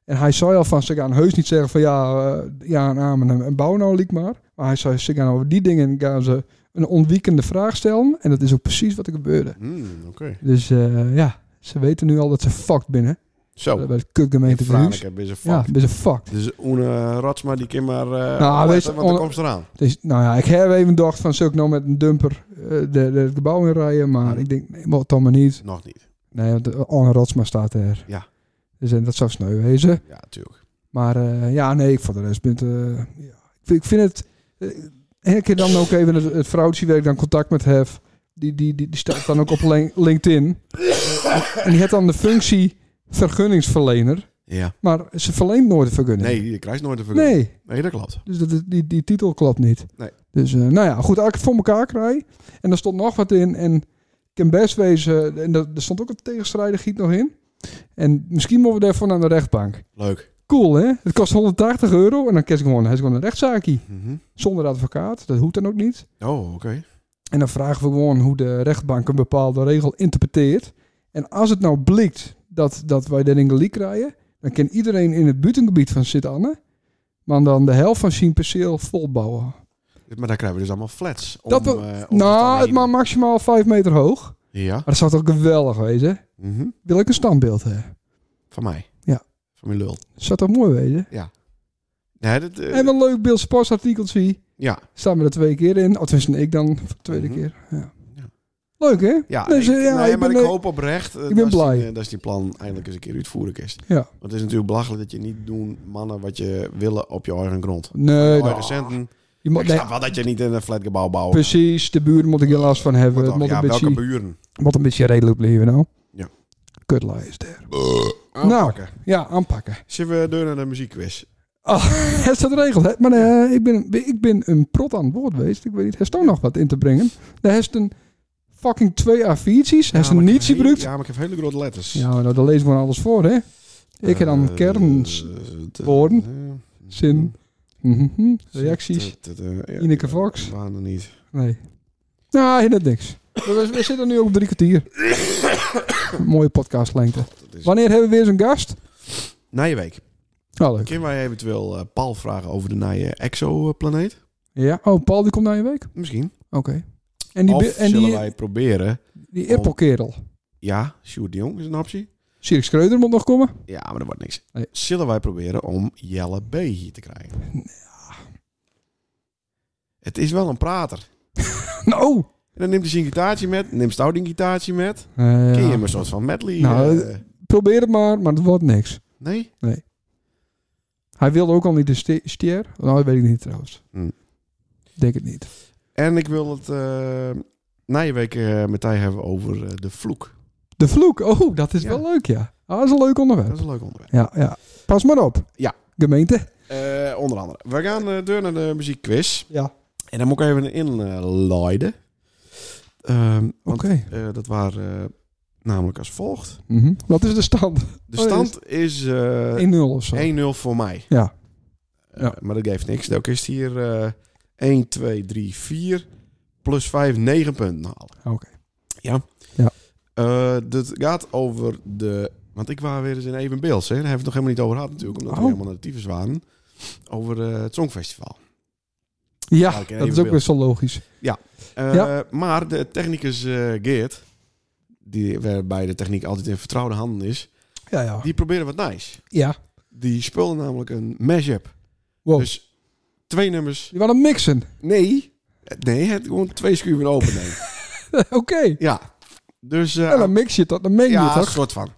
A: En hij zei al van, ze gaan heus niet zeggen van ja, eh, ja en amen en- en bouw nou liek maar. Maar hij zei, ze gaan over die dingen gaan ze een ontwiekende vraag stellen. En dat is ook precies wat er gebeurde.
B: Hmm, oké.
A: Dus eh, ja, ze weten nu al dat ze fucked binnen. eh,
B: Zo.
A: Bij de kutgemeente
B: Vraag ik
A: Bruges.
B: heb een
A: Ja,
B: fuck.
A: dat is een fucked.
B: Dus Oene Ratsma, die kan maar eh
A: Nou,
B: nou,
A: weet je,
B: want er
A: on-
B: komt eraan.
A: Dus, nou ja, ik heb even gedacht van, zou ik nou met een dumper eh, de, de, het gebouw in rijden? Maar ik denk, nee, wat dan maar niet.
B: Nog niet.
A: Nee, want de Anne Rotsma staat er.
B: Ja.
A: Dus en dat zou sneu wezen.
B: Ja, tuurlijk.
A: Maar eh, ja, nee, ik voor de rest ben het, eh, ja. ik, vind, ik vind het... eh, en ik heb dan ook even het, het vrouwtje waar ik dan contact met heb. Die, die, die, die staat dan ook op Lin- LinkedIn. en die heeft dan de functie vergunningsverlener.
B: Ja.
A: Maar ze verleent nooit een vergunning.
B: Nee, je krijgt nooit een vergunning.
A: Nee,
B: Nee, dat klopt.
A: dus dat, is- die, die titel klopt niet.
B: Nee.
A: Dus eh, nou ja, goed, als ik het voor elkaar krijg. En daar stond nog wat in. En ik kan best wezen, en er, er stond ook een tegenstrijdigheid nog in. En misschien moeten we daarvoor naar de rechtbank.
B: Leuk.
A: Cool, hè? Het kost 180 euro en dan kan ik gewoon, hij is gewoon een rechtszaakje.
B: Mhm.
A: Zonder advocaat, dat hoeft dan ook niet.
B: Oh, oké.
A: En dan vragen we gewoon hoe de rechtbank een bepaalde regel interpreteert. En als het nou blikt dat, dat wij daarin gelijk krijgen, dan kan iedereen in het buitengebied van Sint-Anne, maar dan de helft van zijn perceel volbouwen.
B: Maar dan krijgen we dus allemaal flats. Om,
A: Dat wil-
B: eh, om
A: nou, het
B: alleen-
A: mag maximaal 5 meter hoog.
B: Ja.
A: Maar dat zou toch geweldig wezen?
B: Mhm.
A: Wil ik een standbeeld hebben?
B: Van mij.
A: Ja.
B: Van mijn lul.
A: Dat zou toch mooi wezen?
B: Nee, dat, eh,
A: En een leuk beeld sportsartikeltje.
B: ja.
A: Staan we er twee keer in. Of tenminste, ik dan voor de tweede
B: Mhm.
A: keer. Ja.
B: Ja.
A: Leuk, hè?
B: Ja,
A: Dus,
B: ik,
A: eh, ja,
B: nee,
A: ik
B: maar
A: ben,
B: ik
A: eh,
B: hoop oprecht eh,
A: ik ben
B: dat, is
A: blij.
B: Die, eh, dat is die plan eindelijk eens een keer uitvoerig is.
A: Ja.
B: Want het is natuurlijk belachelijk dat je niet doen mannen wat je willen op je eigen grond.
A: Nee,
B: Je
A: nou,
B: eigen centen.
A: je moet,
B: dus Ik
A: nee,
B: snap wel dat je niet in een flatgebouw bouwt.
A: precies. De buren moet ik er last van hebben.
B: Wat
A: Het
B: dan?
A: moet,
B: ja,
A: eh, een
B: welke
A: beetje,
B: buren?
A: moet een beetje redelijk blijven, nou.
B: Ja.
A: Kutlaai is daar. Nou.
B: Aanpakken.
A: Ja, aanpakken.
B: Zullen we door naar de muziekquiz?
A: Ah, het staat regeld, hè? Maar eh, ik, ben, ik ben een prot aan het woord geweest. Ik weet niet, heeft toch nog wat in te brengen? Daar heeft een fucking twee A4'tjes. Hij heeft
B: maar
A: een
B: ik
A: niets
B: heb heel-
A: gebruikt. Ja,
B: Ja, maar ik heb hele grote letters.
A: maar nou, daar lezen we gewoon alles voor, hè? Ik heb dan
B: Eh,
A: kerns,
B: eh, de-
A: woorden,
B: eh,
A: zin, mhm,
B: zin,
A: reacties.
B: de- de- de- ja,
A: Ineke
B: ik-
A: Fox.
B: ik waan er niet.
A: Nee. Nou, helemaal niks. We, we zitten nu op drie kwartier. Mooie podcastlengte.
B: Dat is...
A: Wanneer hebben we weer zo'n gast?
B: Na Nou, je week.
A: Oh, leuk.
B: Kunnen wij eventueel eh, Paul vragen over de nieuwe exoplaneet?
A: Ja. Oh, Paul die komt naar je week? Oké.
B: Misschien.
A: En die,
B: of
A: bi- en
B: zullen
A: die,
B: wij proberen...
A: die Ippelkerel.
B: Ja, Sjoerd de Jong is een optie.
A: Sirik Schreuder moet nog komen.
B: Ja, maar dat wordt niks.
A: Nee.
B: Zullen wij proberen om Jelle B hier te krijgen? Het is wel een prater.
A: Nou!
B: En dan neemt hij zijn gitaartje met, neemt Stout een gitaartje met.
A: Eh,
B: Kun je
A: ja.
B: hem een soort van medley...
A: Nou,
B: eh,
A: Probeer het maar, maar het wordt niks.
B: nee?
A: Hij wilde ook al niet de ste- stier. Nou, dat weet ik niet trouwens.
B: Hmm.
A: Denk het niet.
B: En ik wil het eh na je week eh, met hij hebben over eh, de vloek.
A: De vloek. Oh, dat is
B: Ja.
A: wel leuk, ja. Ah, dat is een leuk onderwerp.
B: Dat is een leuk onderwerp.
A: Ja, ja. Pas maar op.
B: Ja.
A: Gemeente.
B: Eh, onder andere. We gaan eh, door naar de muziekquiz.
A: Ja.
B: En dan moet ik even inleiden. Ehm want
A: Oké.
B: eh, dat waren eh, namelijk als volgt.
A: Mhm. Wat is de stand?
B: De
A: Oh, ja,
B: stand is eh,
A: 1-0 of zo.
B: 1-0 voor mij.
A: Ja.
B: Eh,
A: Ja.
B: Maar dat geeft niks. Ook is het hier eh 1, 2, 3, 4 plus 5, 9 punten halen.
A: Oké.
B: Ja.
A: Ja.
B: Eh, dat gaat over de... Want ik was weer eens in Evenbeels. Hè. Daar hebben we het nog helemaal niet over gehad natuurlijk. Omdat
A: Oh.
B: we helemaal naar de tyfus waren. Over eh, het Songfestival.
A: Ja,
B: Ja, Nou, ik ken
A: dat is
B: even
A: ook best wel logisch.
B: Eh,
A: Ja.
B: Maar de technicus eh, Geert, die waarbij de techniek altijd in vertrouwde handen is,
A: Ja, ja.
B: die probeerde wat nice.
A: Ja.
B: Die speelde namelijk een mashup.
A: Wow.
B: Dus twee nummers.
A: Je was aan het mixen.
B: Nee, nee, het gewoon twee schuiven overnemen.
A: Oké.
B: ja, dus eh,
A: En dan mix je het, dan meng je
B: ja,
A: het,
B: een
A: toch?
B: soort van.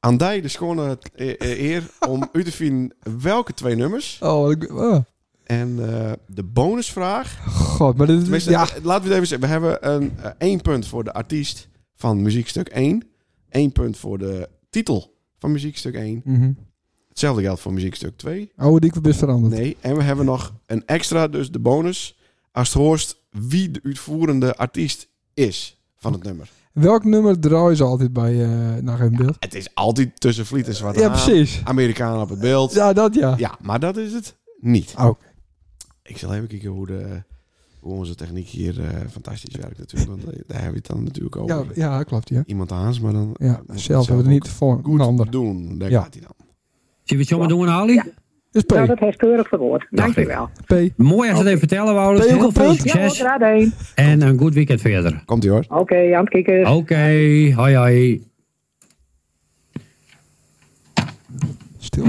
B: Aan die de schone eh, eh, eer om u te vinden welke twee nummers.
A: Oh, ik- ah.
B: En eh, de bonusvraag.
A: god. Maar dit is...
B: Tenminste,
A: Ja.
B: eh, laten we het even zeggen. We hebben een, eh, één punt voor de artiest van muziekstuk 1. Eén punt voor de titel van muziekstuk 1.
A: Mhm.
B: Hetzelfde geldt voor muziekstuk 2.
A: Oude dik best veranderd.
B: Nee, en we hebben nog een extra, dus de bonus. Als het hoort wie de uitvoerende artiest is van het nummer.
A: Welk nummer draaien ze altijd bij eh naar hun beeld?
B: Het is altijd tussen Vliet en Zwarte
A: Ja,
B: Haan,
A: precies.
B: Amerikanen op het beeld. Ja.
A: Ja, dat ja.
B: maar dat is het niet.
A: Oh.
B: Ik zal even kijken hoe, de, hoe onze techniek hier eh, fantastisch werkt natuurlijk. Want eh, daar hebben we het dan natuurlijk over.
A: Ja, ja, klopt, ja.
B: iemand aan, maar dan
A: Ja,
B: moet
A: zelf hebben we het niet voor
B: ook
A: een ander.
B: doen. Daar
A: Ja.
B: gaat hij dan.
F: Zie je wat je allemaal doen, Ali?
A: Is Dus P.
G: Nou, dat heeft keurig verwoord. Dankjewel.
A: P.
F: Mooi als je het even vertellen, Wout.
A: Ben je ook
F: Heel
A: op
F: veel
A: punt?
G: Ja, hoor,
F: succes
G: draad één.
F: en een goed weekend verder.
B: Komt hij hoor.
G: Oké, aan het kijken.
F: Oké, hoi hoi.
A: Stil.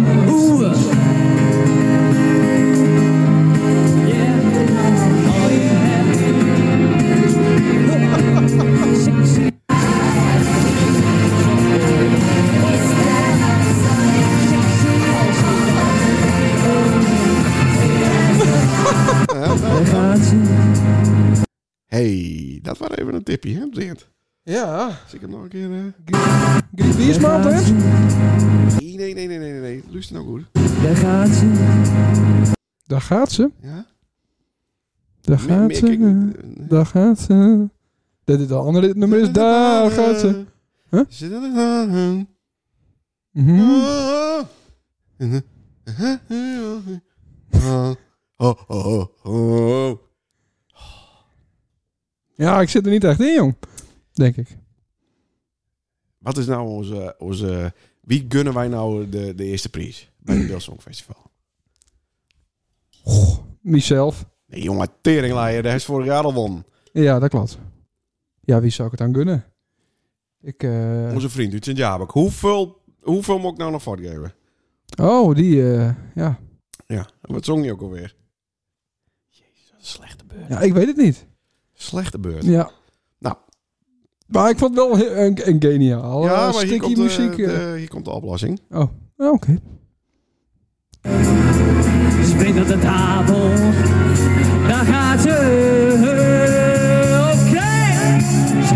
B: Hey, dat was even een tipje, hè? op het eind.
A: Ja.
B: Zie ik het nog een keer? eh?
A: Griet Wiersma, hè?
B: Nee, nee, nee, nee, nee, nee. nee. Luister nou goed.
A: Daar gaat ze.
B: Ja?
A: Daar
B: Meer-
A: gaat
B: meer kijk
A: ze.
B: niet. Eh, nee.
A: Daar gaat ze. Dit is de andere nummer is daar gaat ze. Huh?
B: Zit er een-
A: Mhm.
B: Ah. Ah. Oh, oh, oh, oh.
A: Ja, ik zit er niet echt in, jong. Denk ik.
B: Wat is nou onze, onze... Wie gunnen wij nou de, de eerste prijs bij het Beeld Songfestival?
A: Mijzelf.
B: Nee, jongen, teringlaaier. Daar is vorig jaar al won.
A: Ja, dat klopt. Ja, wie zou ik het aan gunnen? Ik, eh,
B: Onze vriend Utsen Jabek. Hoeveel, hoeveel moet ik nou nog voortgeven?
A: Oh, die, eh, ja.
B: Ja. Wat zong je ook alweer? Jezus, wat een slechte beurt.
A: ja. Ik weet het niet.
B: Slechte beurt.
A: Ja.
B: Nou.
A: Maar ik vond het wel he- een, een geniaal. eh,
B: ja, maar hier
A: stukje
B: komt, de,
A: muziek. eh.
B: de- hier komt de oplossing.
A: Oh, oké.
F: Spring op de tafel, daar gaat ze. Oké.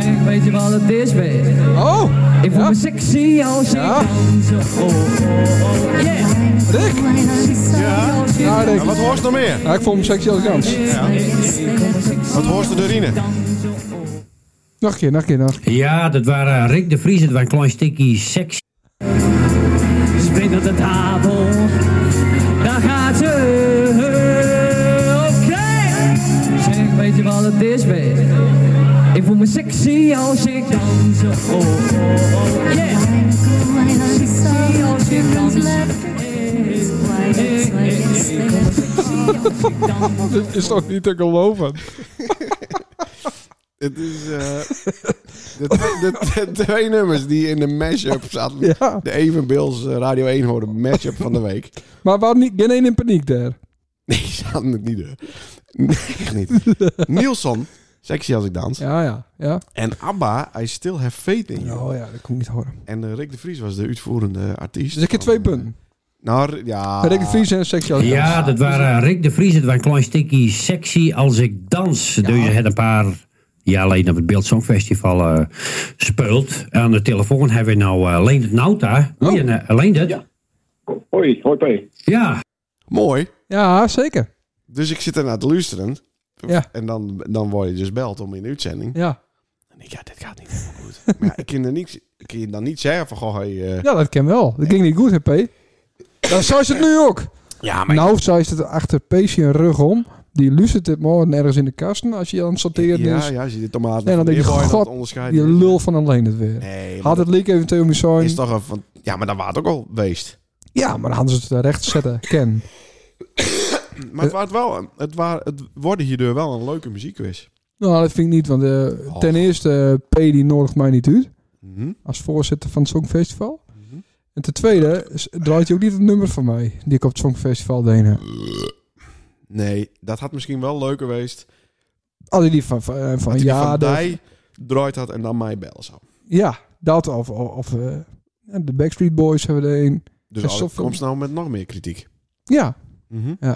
F: Zeg, weet je wat het is, weet je?
A: Oh,
F: Ik voel
A: Ja.
F: me sexy als ik
A: Ja.
F: dans. Oh, oh, oh, yeah.
A: Rick.
B: Ja.
F: Als ik
A: Ja, Rick.
B: En wat hoorst er meer?
A: Ja, ik vond hem sexy als gans.
B: Wat hoorst er de Rine?
A: Nog een keer, nog een keer, nog een keer.
F: Ja, dat waren Rick de Vries. Het was een klein stukje sexy. Spring op de tafel. Daar gaat ze. Oké. Zeg, weet je wat het is, weet je? Ik voel me sexy als ik dans. Oh, oh, oh, yeah. Sexy als ik dans.
A: Dit is toch niet te geloven?
B: Het is eh, de, de, de, de twee nummers die in de mashup zaten.
A: Ja.
B: De Evenbeels eh, Radio 1 hoorde mashup van de week.
A: Maar waar niet, geen één in paniek daar.
B: Nee, ze hadden het niet. hoor. Nee, echt niet. Nielsen, sexy als ik dans.
A: Ja, ja, ja.
B: En ABBA, I still have faith in you.
A: Oh ja, dat kon ik niet horen.
B: En eh, Rick de Vries was de uitvoerende artiest.
A: Dus ik heb twee punten.
B: Nou, r- ja.
A: Rick de Vries en Sexy als
F: Ja, dat waren Rick de Vries. Het was een klein stukje sexy als ik dans. Dus je had een paar jaar geleden op het Beeld Songfestival eh speeld. Aan de telefoon hebben we nou eh Leendert Nauta.
A: Oh.
F: Alleen Leendert? Ja.
D: Hoi, hoi P.
F: ja.
B: Mooi.
A: Ja, zeker.
B: Dus ik zit ernaar te luisteren.
A: Ja.
B: En dan, dan word je dus beld om in de uitzending.
A: Ja,
B: En ik, ja, dit gaat niet helemaal goed. maar ja, ik kan, er niet, ik kan je dan niet zeggen van, goh, hey, eh,
A: ja dat ken wel. Dat ging niet goed, hè, P. Dan zei ze het nu ook.
B: ja, maar
A: Nou, zei ze het achter Peesje een rug om. Die luistert het morgen ergens in de kasten als je aan het sorteren
B: ja,
A: is.
B: ja, als je de tomaten
A: Nee, dan
B: van
A: denk je,
B: Leerboy en dat
A: god,
B: onderscheid
A: Die
B: is.
A: lul van alleen het weer.
B: Nee, maar
A: Had het leak eventueel moeten
B: dat
A: zijn.
B: is toch een van, ja, maar dat was het ook al geweest.
A: Ja, maar dan hadden ze het daar recht zetten. Ken.
B: Maar het, waard wel, een- het, waard, het worden hierdoor wel een leuke muziekquiz.
A: Nou, dat vind ik niet. Want eh,
B: Och.
A: ten eerste, eh, P die nodigt mij niet uit.
B: Mhm.
A: Als voorzitter van het Songfestival. En ten tweede s- draait hij ook niet het nummer van mij. Die ik op het Songfestival deed.
B: Nee, dat had misschien wel leuk geweest.
A: Al die van, van, eh, van
B: dat hij
A: ja,
B: van
A: dat-
B: mij draait had en dan mij bellen zou.
A: ja, dat. Of, of, of, eh, ja, de Backstreet Boys hebben er een.
B: Dus
A: En
B: al-
A: zoveel-
B: kom ze nou met nog meer kritiek.
A: Ja,
B: Mhm.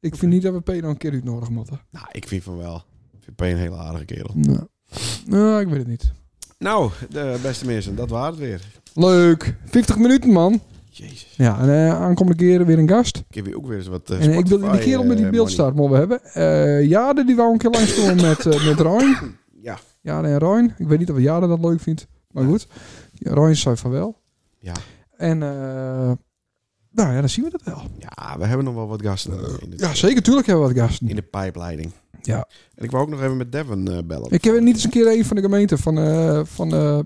A: ik vind niet dat we P dan een keer uitnodigen moeten.
B: Nou, ik vind van wel. Ik vind P een hele aardige kerel.
A: Nou. nou, ik weet het niet.
B: Nou, de beste mensen, dat waren het weer.
A: Leuk. 50 minuten, man.
B: Jezus.
A: Ja, en eh, aankomende keer weer een gast.
B: Ik heb hier ook weer eens wat eh,
A: En eh, ik wil die
B: Spotify,
A: kerel met die
B: eh,
A: beeldstart mogen hebben. Eh Jade, die wou een keer langs komen met, eh met Rijn.
B: money. Ja.
A: Jade en Rijn. Ik weet niet of Jade dat leuk vindt. Maar goed. Ja, Rijn zei van wel.
B: Ja.
A: En eh, nou ja, dan zien we dat wel.
B: ja, we hebben nog wel wat gasten eh, in de,
A: Ja, zeker. Tuurlijk hebben we wat gasten.
B: in de pijpleiding.
A: Ja.
B: En ik wou ook nog even met Devin eh, bellen.
A: Ik heb niet eens een keer een van de gemeente van, eh, van eh,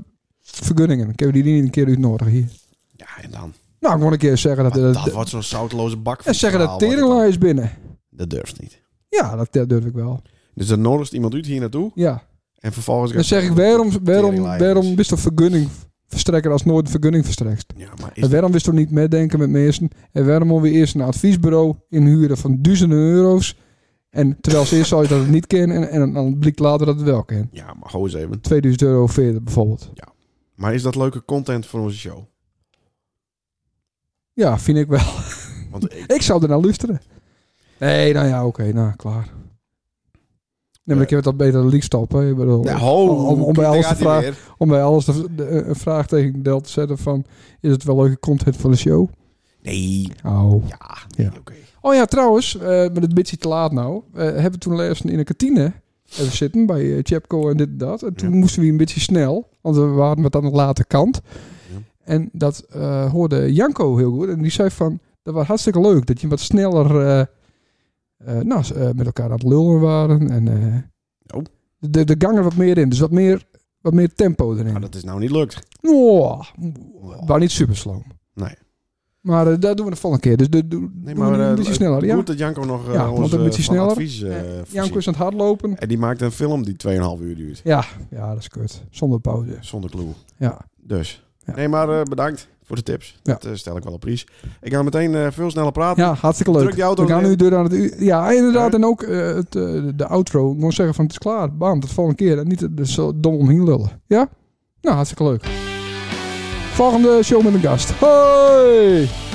A: Vergunningen. Ik heb die niet een keer uitnodigen hier.
B: Ja, en dan?
A: Nou, ik moet een keer zeggen dat...
B: Maar
A: eh,
B: dat wordt zo'n zoutloze bak van
A: en zeggen dat
B: verhaal, wordt het
A: Teringlaai is binnen.
B: dan. Dat durft niet.
A: Ja, dat, dat durf ik wel.
B: Dus dan nodigt iemand uit hier naartoe
A: Ja.
B: en vervolgens...
A: Dan zeg ik, waarom, waarom,
B: Teringlaai
A: waarom
B: is.
A: wist je vergunning verstrekker als nooit een vergunning verstrekt?
B: Ja, maar is
A: En waarom wist je niet meedenken met mensen? En waarom moeten we eerst een adviesbureau inhuren van duizenden euro's? En terwijl ze eerst zou je dat het niet kennen en, en dan blijkt later dat het wel kennen.
B: Ja, maar hou eens even.
A: 2000 euro verder bijvoorbeeld.
B: Maar is dat leuke content voor onze show?
A: Ja, vind ik wel.
B: Want ik,
A: Ik zou er naar luisteren. Nee, nou ja, oké, nou klaar. Nee, maar ik heb het al beter dan leak stoppen. Ik bedoel,
B: Ja, Nou, ho,
A: om, om, bij
B: daar
A: alles te
B: gaat hij
A: vragen,
B: weer.
A: om bij alles de, de- een vraag tegen Del te zetten van... Is het wel leuke content voor de show?
B: Nee,
A: Oh.
B: ja, nee, oké.
A: Oh ja, trouwens, eh maar dat beetje te laat nou. Eh hebben we toen laatst in een kantine even zitten bij eh, Chapco en dit en dat. En toen
B: Ja.
A: moesten we een beetje snel, want we waren wat aan de late kant.
B: Ja.
A: En dat eh, hoorde Janko heel goed. En die zei van, dat was hartstikke leuk dat je wat sneller eh, eh, nou, eh, met elkaar aan het lullen waren. En eh,
B: Oh.
A: de, de gang er wat meer in, dus wat meer, wat meer tempo erin.
B: Maar dat is nou niet lukt.
A: Oh, maar niet super sloom.
B: Nee.
A: Maar eh, daar doen we de volgende keer. Dus de, doe-
B: Nee,
A: doen we
B: maar
A: die
B: eh,
A: een beetje
B: het-
A: sneller. Ja?
B: Goed dat Janko nog eh
A: Ja, want
B: ons
A: een
B: eh,
A: beetje
B: van
A: sneller.
B: advies eh,
A: Janko
B: voorziet.
A: is aan het hardlopen.
B: En die maakt een film die 2,5 uur duurt.
A: Ja, ja, dat is kut. Zonder pauze.
B: Zonder clue.
A: Ja.
B: Dus.
A: Ja.
B: Nee, maar eh, bedankt voor de tips.
A: Ja.
B: Dat eh, stel ik wel op prijs. Ik ga meteen eh, veel sneller praten.
A: ja, hartstikke leuk.
B: Druk die auto
A: We gaan
B: erin.
A: nu door aan het u- Ja, inderdaad.
B: Ja.
A: En ook eh, het, eh, de outro. Ik moet zeggen van het is klaar. Bam, tot de volgende keer. En niet eh, zo dom omheen lullen. Ja? Nou, hartstikke leuk. Volgende show met een gast. Hoi!